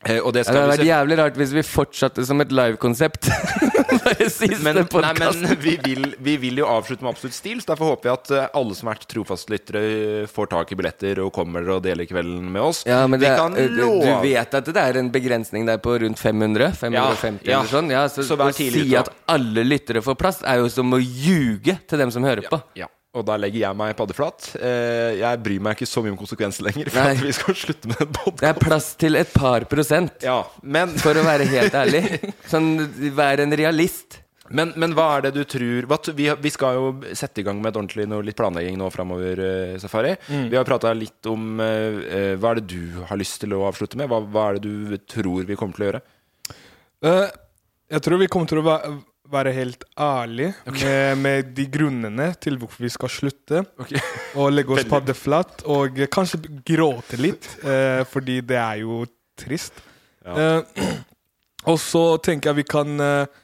Speaker 4: Og det
Speaker 6: Ja, det
Speaker 4: skal
Speaker 6: hadde
Speaker 4: vi
Speaker 6: vært
Speaker 4: se
Speaker 6: jævlig rart hvis vi fortsatte som et livekonsept. Bare
Speaker 4: men,
Speaker 6: siste
Speaker 4: nei,
Speaker 6: podkast.
Speaker 4: men vi, vil, vi vil jo avslutte med absolutt stil, så derfor håper jeg at eh, alle som har vært trofastlyttere, eh, får tak i billetter og kommer og deler kvelden med oss.
Speaker 6: Ja, men
Speaker 4: vi
Speaker 6: det,
Speaker 4: kan
Speaker 6: eh, du,
Speaker 4: love
Speaker 6: du vet at det er en begrensning der på rundt 500? 550
Speaker 4: Ja, ja.
Speaker 6: eller sånn? Ja, så,
Speaker 4: Så vær
Speaker 6: å si
Speaker 4: tidlig ute, da.
Speaker 6: at alle lyttere får plass, er jo som å ljuge til dem som hører på.
Speaker 4: ja. Og da legger jeg meg paddeflat. Eh, Jeg bryr meg ikke så mye om konsekvenser lenger, for
Speaker 6: Nei.
Speaker 4: at vi skal slutte med en podcast.
Speaker 6: Det er plass til et par prosent,
Speaker 4: Ja, men,
Speaker 6: for å være helt ærlig. Sånn, vær en realist.
Speaker 4: men, men hva er det du tror hva, t- vi, har- vi skal jo sette i gang med et ordentlig noe, litt planlegging nå framover, eh, Safari. Vi har prata litt om eh, eh, hva er det du har lyst til å avslutte med? Hva, hva er det du tror vi kommer til å gjøre?
Speaker 5: Eh, Jeg tror vi kommer til å væ- være helt ærlige med, med de grunnene til hvorfor vi skal slutte. Og legge oss paddeflat og kanskje gråte litt, eh, fordi det er jo trist. Eh, og så tenker jeg vi kan eh,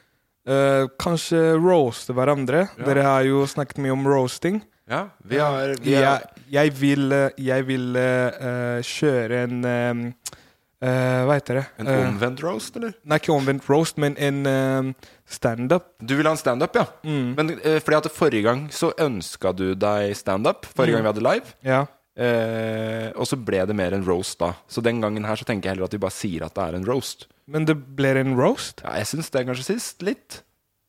Speaker 5: eh, kanskje roaste hverandre. Dere har jo snakket mye om roasting.
Speaker 4: Ja, vi har, vi
Speaker 5: jeg,
Speaker 4: er-
Speaker 5: jeg vil, eh, jeg vil eh, eh, kjøre en eh, eh, Hva heter det?
Speaker 4: En
Speaker 5: Eh,
Speaker 4: omvendt roast, eller?
Speaker 5: Nei, ikke omvendt roast, men en eh, standup.
Speaker 4: Du vil ha en standup, ja. Men eh, fordi at forrige gang så ønska du deg standup. Forrige gang vi hadde live.
Speaker 5: Ja.
Speaker 4: Eh, og så ble det mer en roast da. Så den gangen her så tenker jeg heller at vi bare sier at det er en roast.
Speaker 5: Men det ble en roast?
Speaker 4: Ja, jeg syns det kanskje sist. Litt.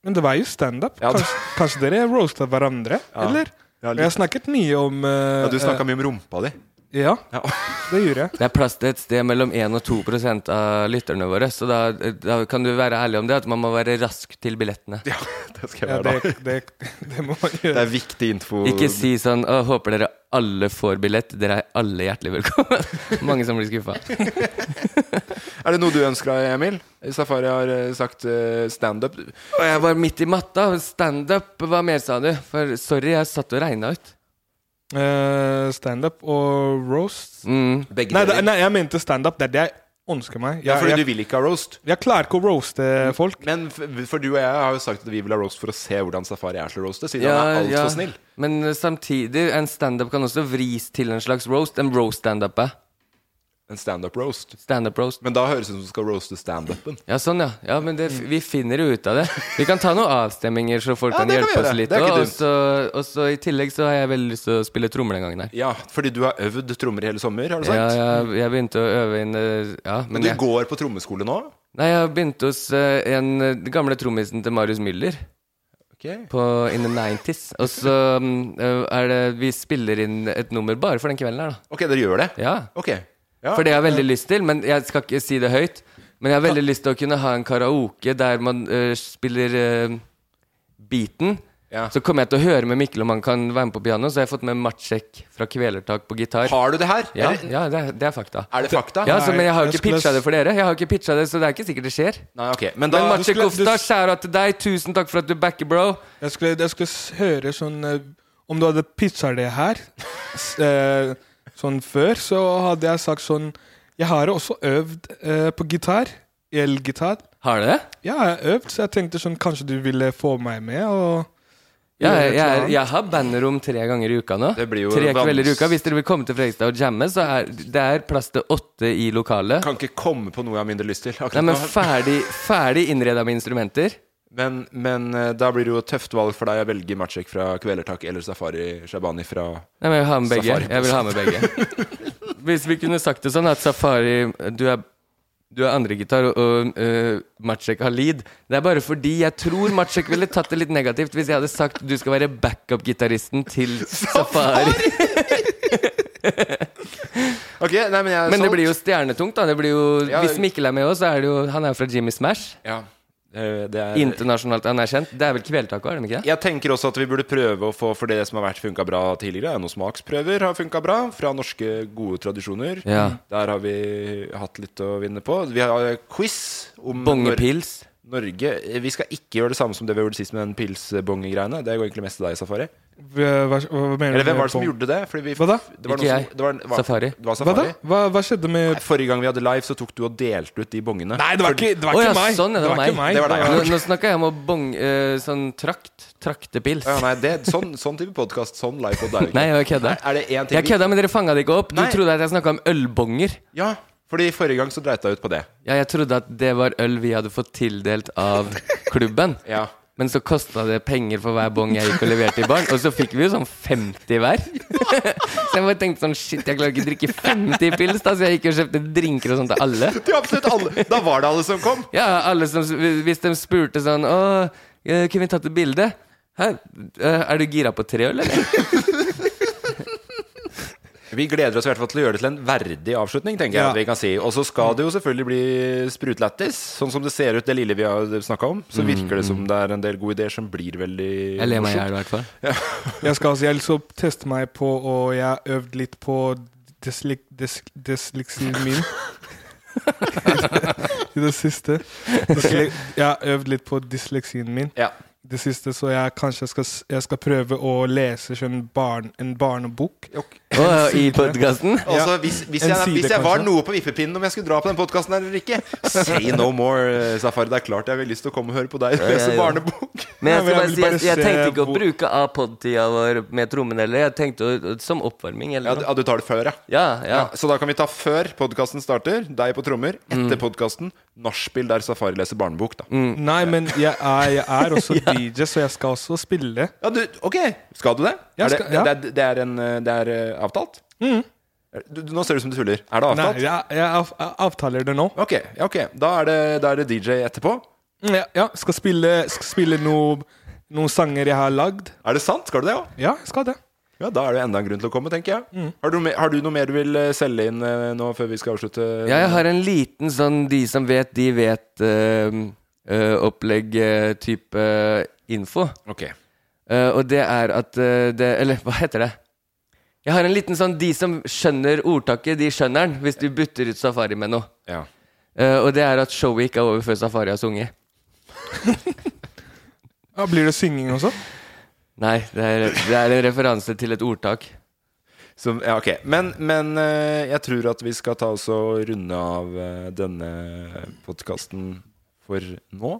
Speaker 5: Men det var jo standup.
Speaker 4: Ja, det-
Speaker 5: kanskje, kanskje dere roasta hverandre,
Speaker 4: Ja.
Speaker 5: eller?
Speaker 4: Ja, litt.
Speaker 5: jeg snakket mye om eh,
Speaker 4: Ja, du snakka
Speaker 5: eh,
Speaker 4: mye om rumpa di.
Speaker 5: Ja, det gjorde jeg.
Speaker 6: Det er plass til et sted mellom 1 og 2 prosent av lytterne våre, så da, da kan du være ærlig om det, at man må være rask til billettene.
Speaker 4: Ja, det skal
Speaker 5: Ja,
Speaker 4: jeg være,
Speaker 5: det, det, det må man gjøre.
Speaker 4: da. Det er viktig info.
Speaker 6: Ikke si sånn «Å, 'Håper dere alle får billett'. Dere er alle hjertelig velkommen. Mange som blir skuffa.
Speaker 4: Er det noe du ønsker deg, Emil? Safari har eh, sagt eh, standup.
Speaker 6: Og jeg var midt i matta. Standup, hva mer sa du? For sorry, jeg satt og regna ut.
Speaker 5: Eh, standup og roast.
Speaker 6: Mm.
Speaker 4: Begge
Speaker 5: nei,
Speaker 4: deler.
Speaker 5: det- nei, jeg mente standup. Det er det jeg ønsker meg.
Speaker 4: Ja, fordi
Speaker 5: jeg,
Speaker 4: du Mm. vil ikke ha roast.
Speaker 5: jeg klarer ikke å roaste folk.
Speaker 4: Men f- for du og jeg har jo sagt at vi vil ha roast for å se hvordan Safari er til å roaste, siden han er altfor
Speaker 6: Ja, ja.
Speaker 4: snill.
Speaker 6: Men eh, samtidig, en standup kan også vris til en slags roast. En roast-standup. eh.
Speaker 4: En standup-roast.
Speaker 6: Standup-roast.
Speaker 4: Men da høres det ut som du skal roaste standupen.
Speaker 6: Ja, sånn, ja. ja men det, vi finner jo ut av det. Vi kan ta noen avstemminger, så folk
Speaker 4: Ja,
Speaker 6: kan
Speaker 4: det kan vi
Speaker 6: hjelpe oss
Speaker 4: gjøre.
Speaker 6: litt.
Speaker 4: Det er ikke
Speaker 6: Og
Speaker 4: dumt.
Speaker 6: så, og så i tillegg så har jeg veldig lyst til å spille trommer den gangen her.
Speaker 4: Ja, fordi du har øvd trommer hele sommer, har du
Speaker 6: Ja,
Speaker 4: sagt?
Speaker 6: jeg, jeg begynte å øve inn eh, Ja, men
Speaker 4: Men du
Speaker 6: jeg,
Speaker 4: går på trommeskole nå?
Speaker 6: Nei, jeg begynte hos eh, en eh, den gamle trommisen til Marius Müller. På In the 90s. Og så mm, eh, er det Vi spiller inn et nummer bare for den kvelden her, da.
Speaker 4: Ok, dere gjør det?
Speaker 6: Ja.
Speaker 4: Ok. Ja.
Speaker 6: For det har jeg veldig lyst til, men jeg skal ikke si det høyt. Men jeg har veldig lyst til å kunne ha en karaoke der man eh, spiller eh, beaten. Så kommer jeg til å høre med Mikkel om han kan være med på piano. Så har jeg fått med Matsjek fra Kvelertak på gitar.
Speaker 4: Har du det her?
Speaker 6: Ja,
Speaker 4: Eller-
Speaker 6: ja det, er- det er fakta.
Speaker 4: Er det fakta?
Speaker 6: Ja, så, Men jeg har jo
Speaker 4: Nei,
Speaker 6: ikke
Speaker 4: jeg skulle-
Speaker 6: pitcha det for dere. Jeg har jo ikke pitcha det, Så det er ikke sikkert det skjer.
Speaker 4: Nei, ok. Men
Speaker 6: Men,
Speaker 4: da
Speaker 6: Matsjek Ofta, skjæra til deg. Tusen takk for at du backer, bro.
Speaker 5: Jeg skulle, jeg skulle s- høre sånn eh, Om du hadde pitcha det her s- eh, sånn før, så hadde jeg sagt sånn Jeg har også øvd eh, på gitar. Elgitar.
Speaker 6: Har du det?
Speaker 5: Ja, jeg har øvd, så jeg tenkte sånn Kanskje du ville få meg med? og...
Speaker 6: Ja,
Speaker 5: gjøre
Speaker 6: jeg,
Speaker 5: et eller
Speaker 6: jeg,
Speaker 5: annet.
Speaker 6: jeg har bandrom tre ganger i uka nå.
Speaker 4: Det blir jo
Speaker 6: tre
Speaker 4: vans-
Speaker 6: kvelder i uka Hvis dere vil komme til Fredrikstad og jamme, så er det er plass til åtte i lokalet.
Speaker 4: Kan ikke komme på noe jeg har mindre lyst til. akkurat
Speaker 6: Nei, men
Speaker 4: nå.
Speaker 6: ferdig, ferdig innreda med instrumenter.
Speaker 4: Men, men eh, da blir det jo et tøft valg for deg å velge Matsjek fra Kvelertak eller Safari Shabani fra
Speaker 6: Nei, men jeg vil ha med begge.
Speaker 4: Safari.
Speaker 6: Jeg vil ha med begge. Hvis vi kunne sagt det sånn at Safari Du er, du er andregitar, og, og øh, Matsjek har lead. Det er bare fordi jeg tror Matsjek ville tatt det litt negativt hvis jeg hadde sagt du skal være backup-gitaristen til Safari.
Speaker 4: Ok, nei, men jeg er
Speaker 6: Men det
Speaker 4: solgt.
Speaker 6: blir jo stjernetungt, da. Det blir jo,
Speaker 4: Ja,
Speaker 6: hvis Mikkel er med òg, så er det jo Han er jo fra Jimmy Smash.
Speaker 4: Ja. Eh, Det er
Speaker 6: Internasjonalt anerkjent. Det er vel Kvelertaket, er det ikke det?
Speaker 4: Jeg tenker også at vi burde prøve å få for det som har vært funka bra tidligere. er Noen smaksprøver har funka bra, fra norske gode tradisjoner.
Speaker 6: Ja.
Speaker 4: Der har vi hatt litt å vinne på. Vi har quiz om
Speaker 6: Bongepils.
Speaker 4: Nor Norge. Vi skal ikke gjøre det samme som det vi gjorde sist med den pilsbongegreiene. Det går egentlig mest til deg, Safari.
Speaker 5: Hva, hva, hva mener
Speaker 4: Eller hvem
Speaker 5: du med
Speaker 4: var det som
Speaker 5: på-
Speaker 4: gjorde det? Fordi vi,
Speaker 5: Hva da?
Speaker 4: Det var
Speaker 5: Ikke
Speaker 4: noen
Speaker 5: jeg.
Speaker 4: som, det var, en- var,
Speaker 6: Safari.
Speaker 4: Det var
Speaker 5: Hva da?
Speaker 4: Safari.
Speaker 5: Hva, hva skjedde med
Speaker 4: Nei, Forrige gang vi hadde live, så tok du og delte ut de bongene.
Speaker 5: Nei, det var ikke- det var ikke
Speaker 6: Å ja,
Speaker 5: meg.
Speaker 6: Sånn, ja, det,
Speaker 5: Det
Speaker 6: var
Speaker 5: var ikke meg.
Speaker 4: Det var deg, ja.
Speaker 6: Nå, nå snakka jeg om å bong... øh, sånn trakt. Traktepils.
Speaker 4: Ja, nei, det, sånn, sånn type podkast, sånn livepod er det ikke.
Speaker 6: Nei, jeg kødda.
Speaker 4: Er- Er det én ting
Speaker 6: Jeg
Speaker 4: vi-
Speaker 6: kødda, men dere fanga det ikke opp. Du
Speaker 4: Nei.
Speaker 6: trodde at jeg snakka om ølbonger.
Speaker 4: Ja, fordi forrige gang så dreit jeg ut på det.
Speaker 6: Ja, jeg trodde at det var øl vi hadde fått tildelt av klubben.
Speaker 4: Ja.
Speaker 6: Men så kosta det penger for hver bong jeg gikk og leverte i baren. Og så fikk vi jo sånn 50 hver. Så jeg bare tenkte sånn shit, jeg klarer ikke å drikke 50 pils, da, så jeg gikk og kjøpte drinker og sånt til alle.
Speaker 4: Til absolutt alle. Da var det alle som kom.
Speaker 6: Ja, alle som, hvis de spurte sånn Å, eh, kunne vi tatt et bilde? Hæ, eh, er du gira på tre øl, eller?
Speaker 4: Vi gleder oss i hvert fall til å gjøre det til en verdig avslutning, tenker jeg
Speaker 6: Ja.
Speaker 4: at vi kan si. Og så skal det jo selvfølgelig bli sprutlættis, sånn som det ser ut det lille vi har snakka om. Så
Speaker 6: Mm,
Speaker 4: virker det som det er en del gode ideer som blir veldig
Speaker 6: Jeg ler meg i hjel, i
Speaker 4: morsomt.
Speaker 6: hvert fall.
Speaker 5: Jeg skal altså, jeg har lyst til å teste meg på, og jeg har øvd litt på dysleksien dys, dysleksien min. I det siste. Dysle, jeg har øvd litt på dysleksien min. det siste, så jeg kanskje skal, s- jeg skal prøve å lese sånn barn, en barnebok.
Speaker 6: Å, i podcasten?
Speaker 4: Altså, hvis, hvis,
Speaker 5: En
Speaker 4: jeg,
Speaker 5: side,
Speaker 4: hvis jeg var
Speaker 5: kanskje.
Speaker 4: noe på vippepinnen om jeg skulle dra på den podkasten her eller ikke Say no more, eh, Safari. Det er klart jeg har lyst til å komme og høre på deg
Speaker 6: Ja, ja,
Speaker 4: lese
Speaker 6: ja.
Speaker 4: barnebok.
Speaker 6: Men jeg, skal bare si, jeg, jeg tenkte ikke å bruke A-pod-tida vår med trommen heller. Jeg tenkte å, som oppvarming. Eller
Speaker 4: Ja, du- ja, du tar det før, ja.
Speaker 6: ja.
Speaker 4: Ja, så da kan vi ta før podkasten starter, deg på trommer. Etter podkasten, nachspiel der Safari leser barnebok, da.
Speaker 5: Nei, men jeg er, jeg er også DJ, så jeg skal også spille.
Speaker 4: Ja, du, ok, skal du det?
Speaker 5: Jeg
Speaker 4: Er det,
Speaker 5: skal- ja.
Speaker 4: det, er, det, er en, eh, det er eh, avtalt? Du, du, nå ser det ut som du tuller. Er det
Speaker 5: Nei,
Speaker 4: avtalt?
Speaker 5: jeg, jeg av- jeg avtaler det nå.
Speaker 4: Ok, ja, ok. Da er, det, da er det DJ etterpå.
Speaker 5: Ja, ja skal spille, skal spille noe, noen sanger jeg har lagd.
Speaker 4: Er det sant? Skal du det òg?
Speaker 5: Ja, jeg skal det.
Speaker 4: Ja, Da er det enda en grunn til å komme, tenker jeg. Har, du, me- har du noe mer du vil eh, selge inn eh, nå før vi skal avslutte?
Speaker 6: Ja, jeg har en liten sånn de som vet, de vet eh, eh, opplegg eh, type info.
Speaker 4: Ok.
Speaker 6: Eh, og det er at eh, det Eller hva heter det? Jeg har en liten sånn De som skjønner ordtaket, de skjønner den hvis du bytter ut safari med noe.
Speaker 4: Ja.
Speaker 6: Eh, og det er at showet ikke er over før safari har sunget.
Speaker 5: Ja, blir det synging også?
Speaker 6: Nei, det er, det er en referanse til et ordtak.
Speaker 4: Som, ja, ok. Men, men eh, jeg tror at vi skal ta oss og runde av eh, denne podkasten for nå.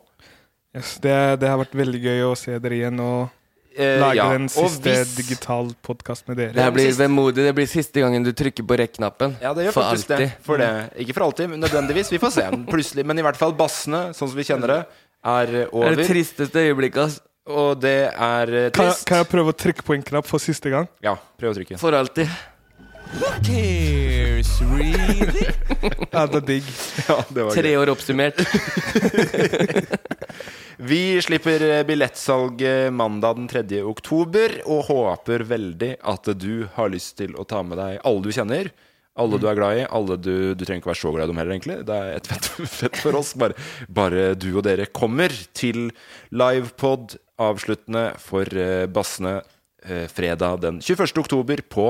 Speaker 5: Yes, det, det har vært veldig gøy å se dere igjen og
Speaker 4: Eh,
Speaker 5: lage
Speaker 4: ja,
Speaker 5: den
Speaker 4: og
Speaker 5: siste
Speaker 4: hvis-
Speaker 5: digital podkast med dere.
Speaker 6: Det her blir vemodig. Det blir siste gangen du trykker på rekk-knappen.
Speaker 4: Ja, det gjør
Speaker 6: For
Speaker 4: faktisk
Speaker 6: alltid.
Speaker 4: det. For det. Ikke for alltid, men nødvendigvis. Vi får se. Plutselig. Men i hvert fall bassene, sånn som vi kjenner det, er eh,
Speaker 6: Det
Speaker 4: over.
Speaker 6: er det tristeste øyeblikket, ass.
Speaker 4: Og det er eh,
Speaker 5: Kan,
Speaker 4: trist.
Speaker 5: kan jeg prøve å trykke på en knapp for siste gang?
Speaker 4: Ja, prøv å trykke.
Speaker 6: For alltid.
Speaker 9: Cares, really?
Speaker 5: Ja, det er digg.
Speaker 4: Ja, det var
Speaker 6: Tre
Speaker 4: gøy.
Speaker 6: år oppsummert.
Speaker 4: Vi slipper eh, billettsalget mandag den 3. oktober, og håper veldig at du har lyst til å ta med deg alle du kjenner. Alle du
Speaker 6: Mm.
Speaker 4: er glad i. alle Du du trenger ikke være så glad i dem heller, egentlig. Det er et fett, fett for oss. Bare, bare du og dere kommer til livepod avsluttende for eh, bassene eh, fredag den 21. oktober på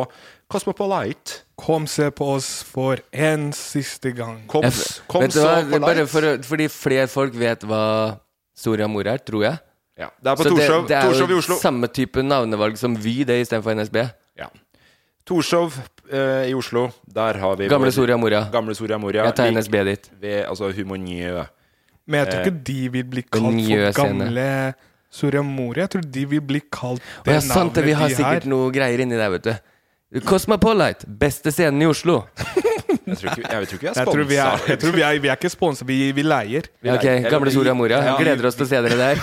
Speaker 4: Cosmopolite.
Speaker 5: Kom se på oss for en siste gang.
Speaker 4: Koms,
Speaker 6: Vet
Speaker 4: koms
Speaker 6: du hva?
Speaker 4: og
Speaker 6: Det er Bare
Speaker 4: Polite.
Speaker 6: for, å- fordi flere folk vet hva Soria Moria er, tror jeg.
Speaker 4: Ja, det er på
Speaker 6: Så
Speaker 4: Torshov-
Speaker 6: det, det er
Speaker 4: Torshov i
Speaker 6: jo
Speaker 4: Oslo.
Speaker 6: samme type navnevalg som Vy, det istedenfor NSB.
Speaker 4: Ja. Torshov eh, i Oslo. Der har vi
Speaker 6: Gamle
Speaker 4: vår-
Speaker 6: Soria Moria.
Speaker 4: Gamle Soria Moria.
Speaker 6: Jeg tar
Speaker 4: Lik-
Speaker 6: NSB dit.
Speaker 4: Ved, altså Humornjø.
Speaker 5: Men jeg tror
Speaker 4: Eh,
Speaker 5: ikke de vil bli kalt
Speaker 6: nye
Speaker 5: for
Speaker 6: scene.
Speaker 5: gamle Soria Moria. Jeg tror de vil bli kalt
Speaker 6: Og
Speaker 5: det
Speaker 6: ja, sant det,
Speaker 5: navnet
Speaker 6: vi har
Speaker 5: de
Speaker 6: sikkert
Speaker 5: er.
Speaker 6: noe greier inni der, vet du. Cosmopolite, beste scenen i Oslo.
Speaker 4: Jeg tror ikke, jeg tror ikke vi er
Speaker 5: Jeg tror vi er,
Speaker 4: sponsa.
Speaker 5: jeg tror vi er, vi er ikke sponsa, vi, vi leier.
Speaker 4: Vi
Speaker 6: Ok,
Speaker 4: leier-
Speaker 6: Gamle Soria Moria.
Speaker 4: Ja.
Speaker 6: Gleder oss til å se dere der.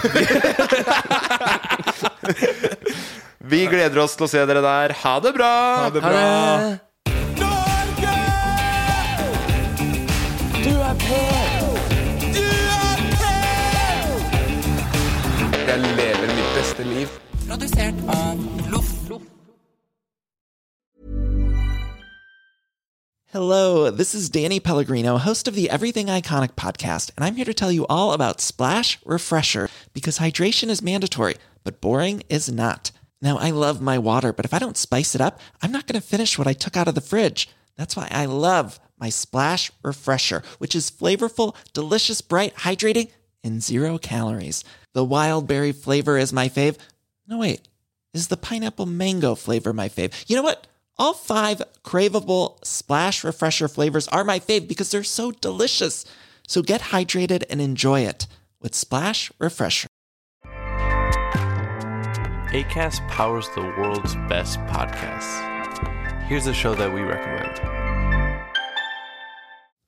Speaker 4: Vi gleder oss til å se dere der. Ha det bra!
Speaker 5: Ha det bra.
Speaker 4: Jeg lever mitt beste liv.
Speaker 3: Produsert av Loff.
Speaker 10: Hello, this is Danny Pellegrino, host of the Everything Iconic podcast, and I'm here to tell you all about Splash Refresher because hydration is mandatory, but boring is not. Now, I love my water, but if I don't spice it up, I'm not going to finish what I took out of the fridge. That's why I love my Splash Refresher, which is flavorful, delicious, bright, hydrating, and zero calories. The wild berry flavor is my fave. No, wait. is the pineapple mango flavor my fave. You know what? All five craveable splash refresher flavors are my fave because they're so delicious. So get hydrated and enjoy it with Splash Refresher.
Speaker 11: ACAST powers the world's best podcasts. Here's a show that we recommend.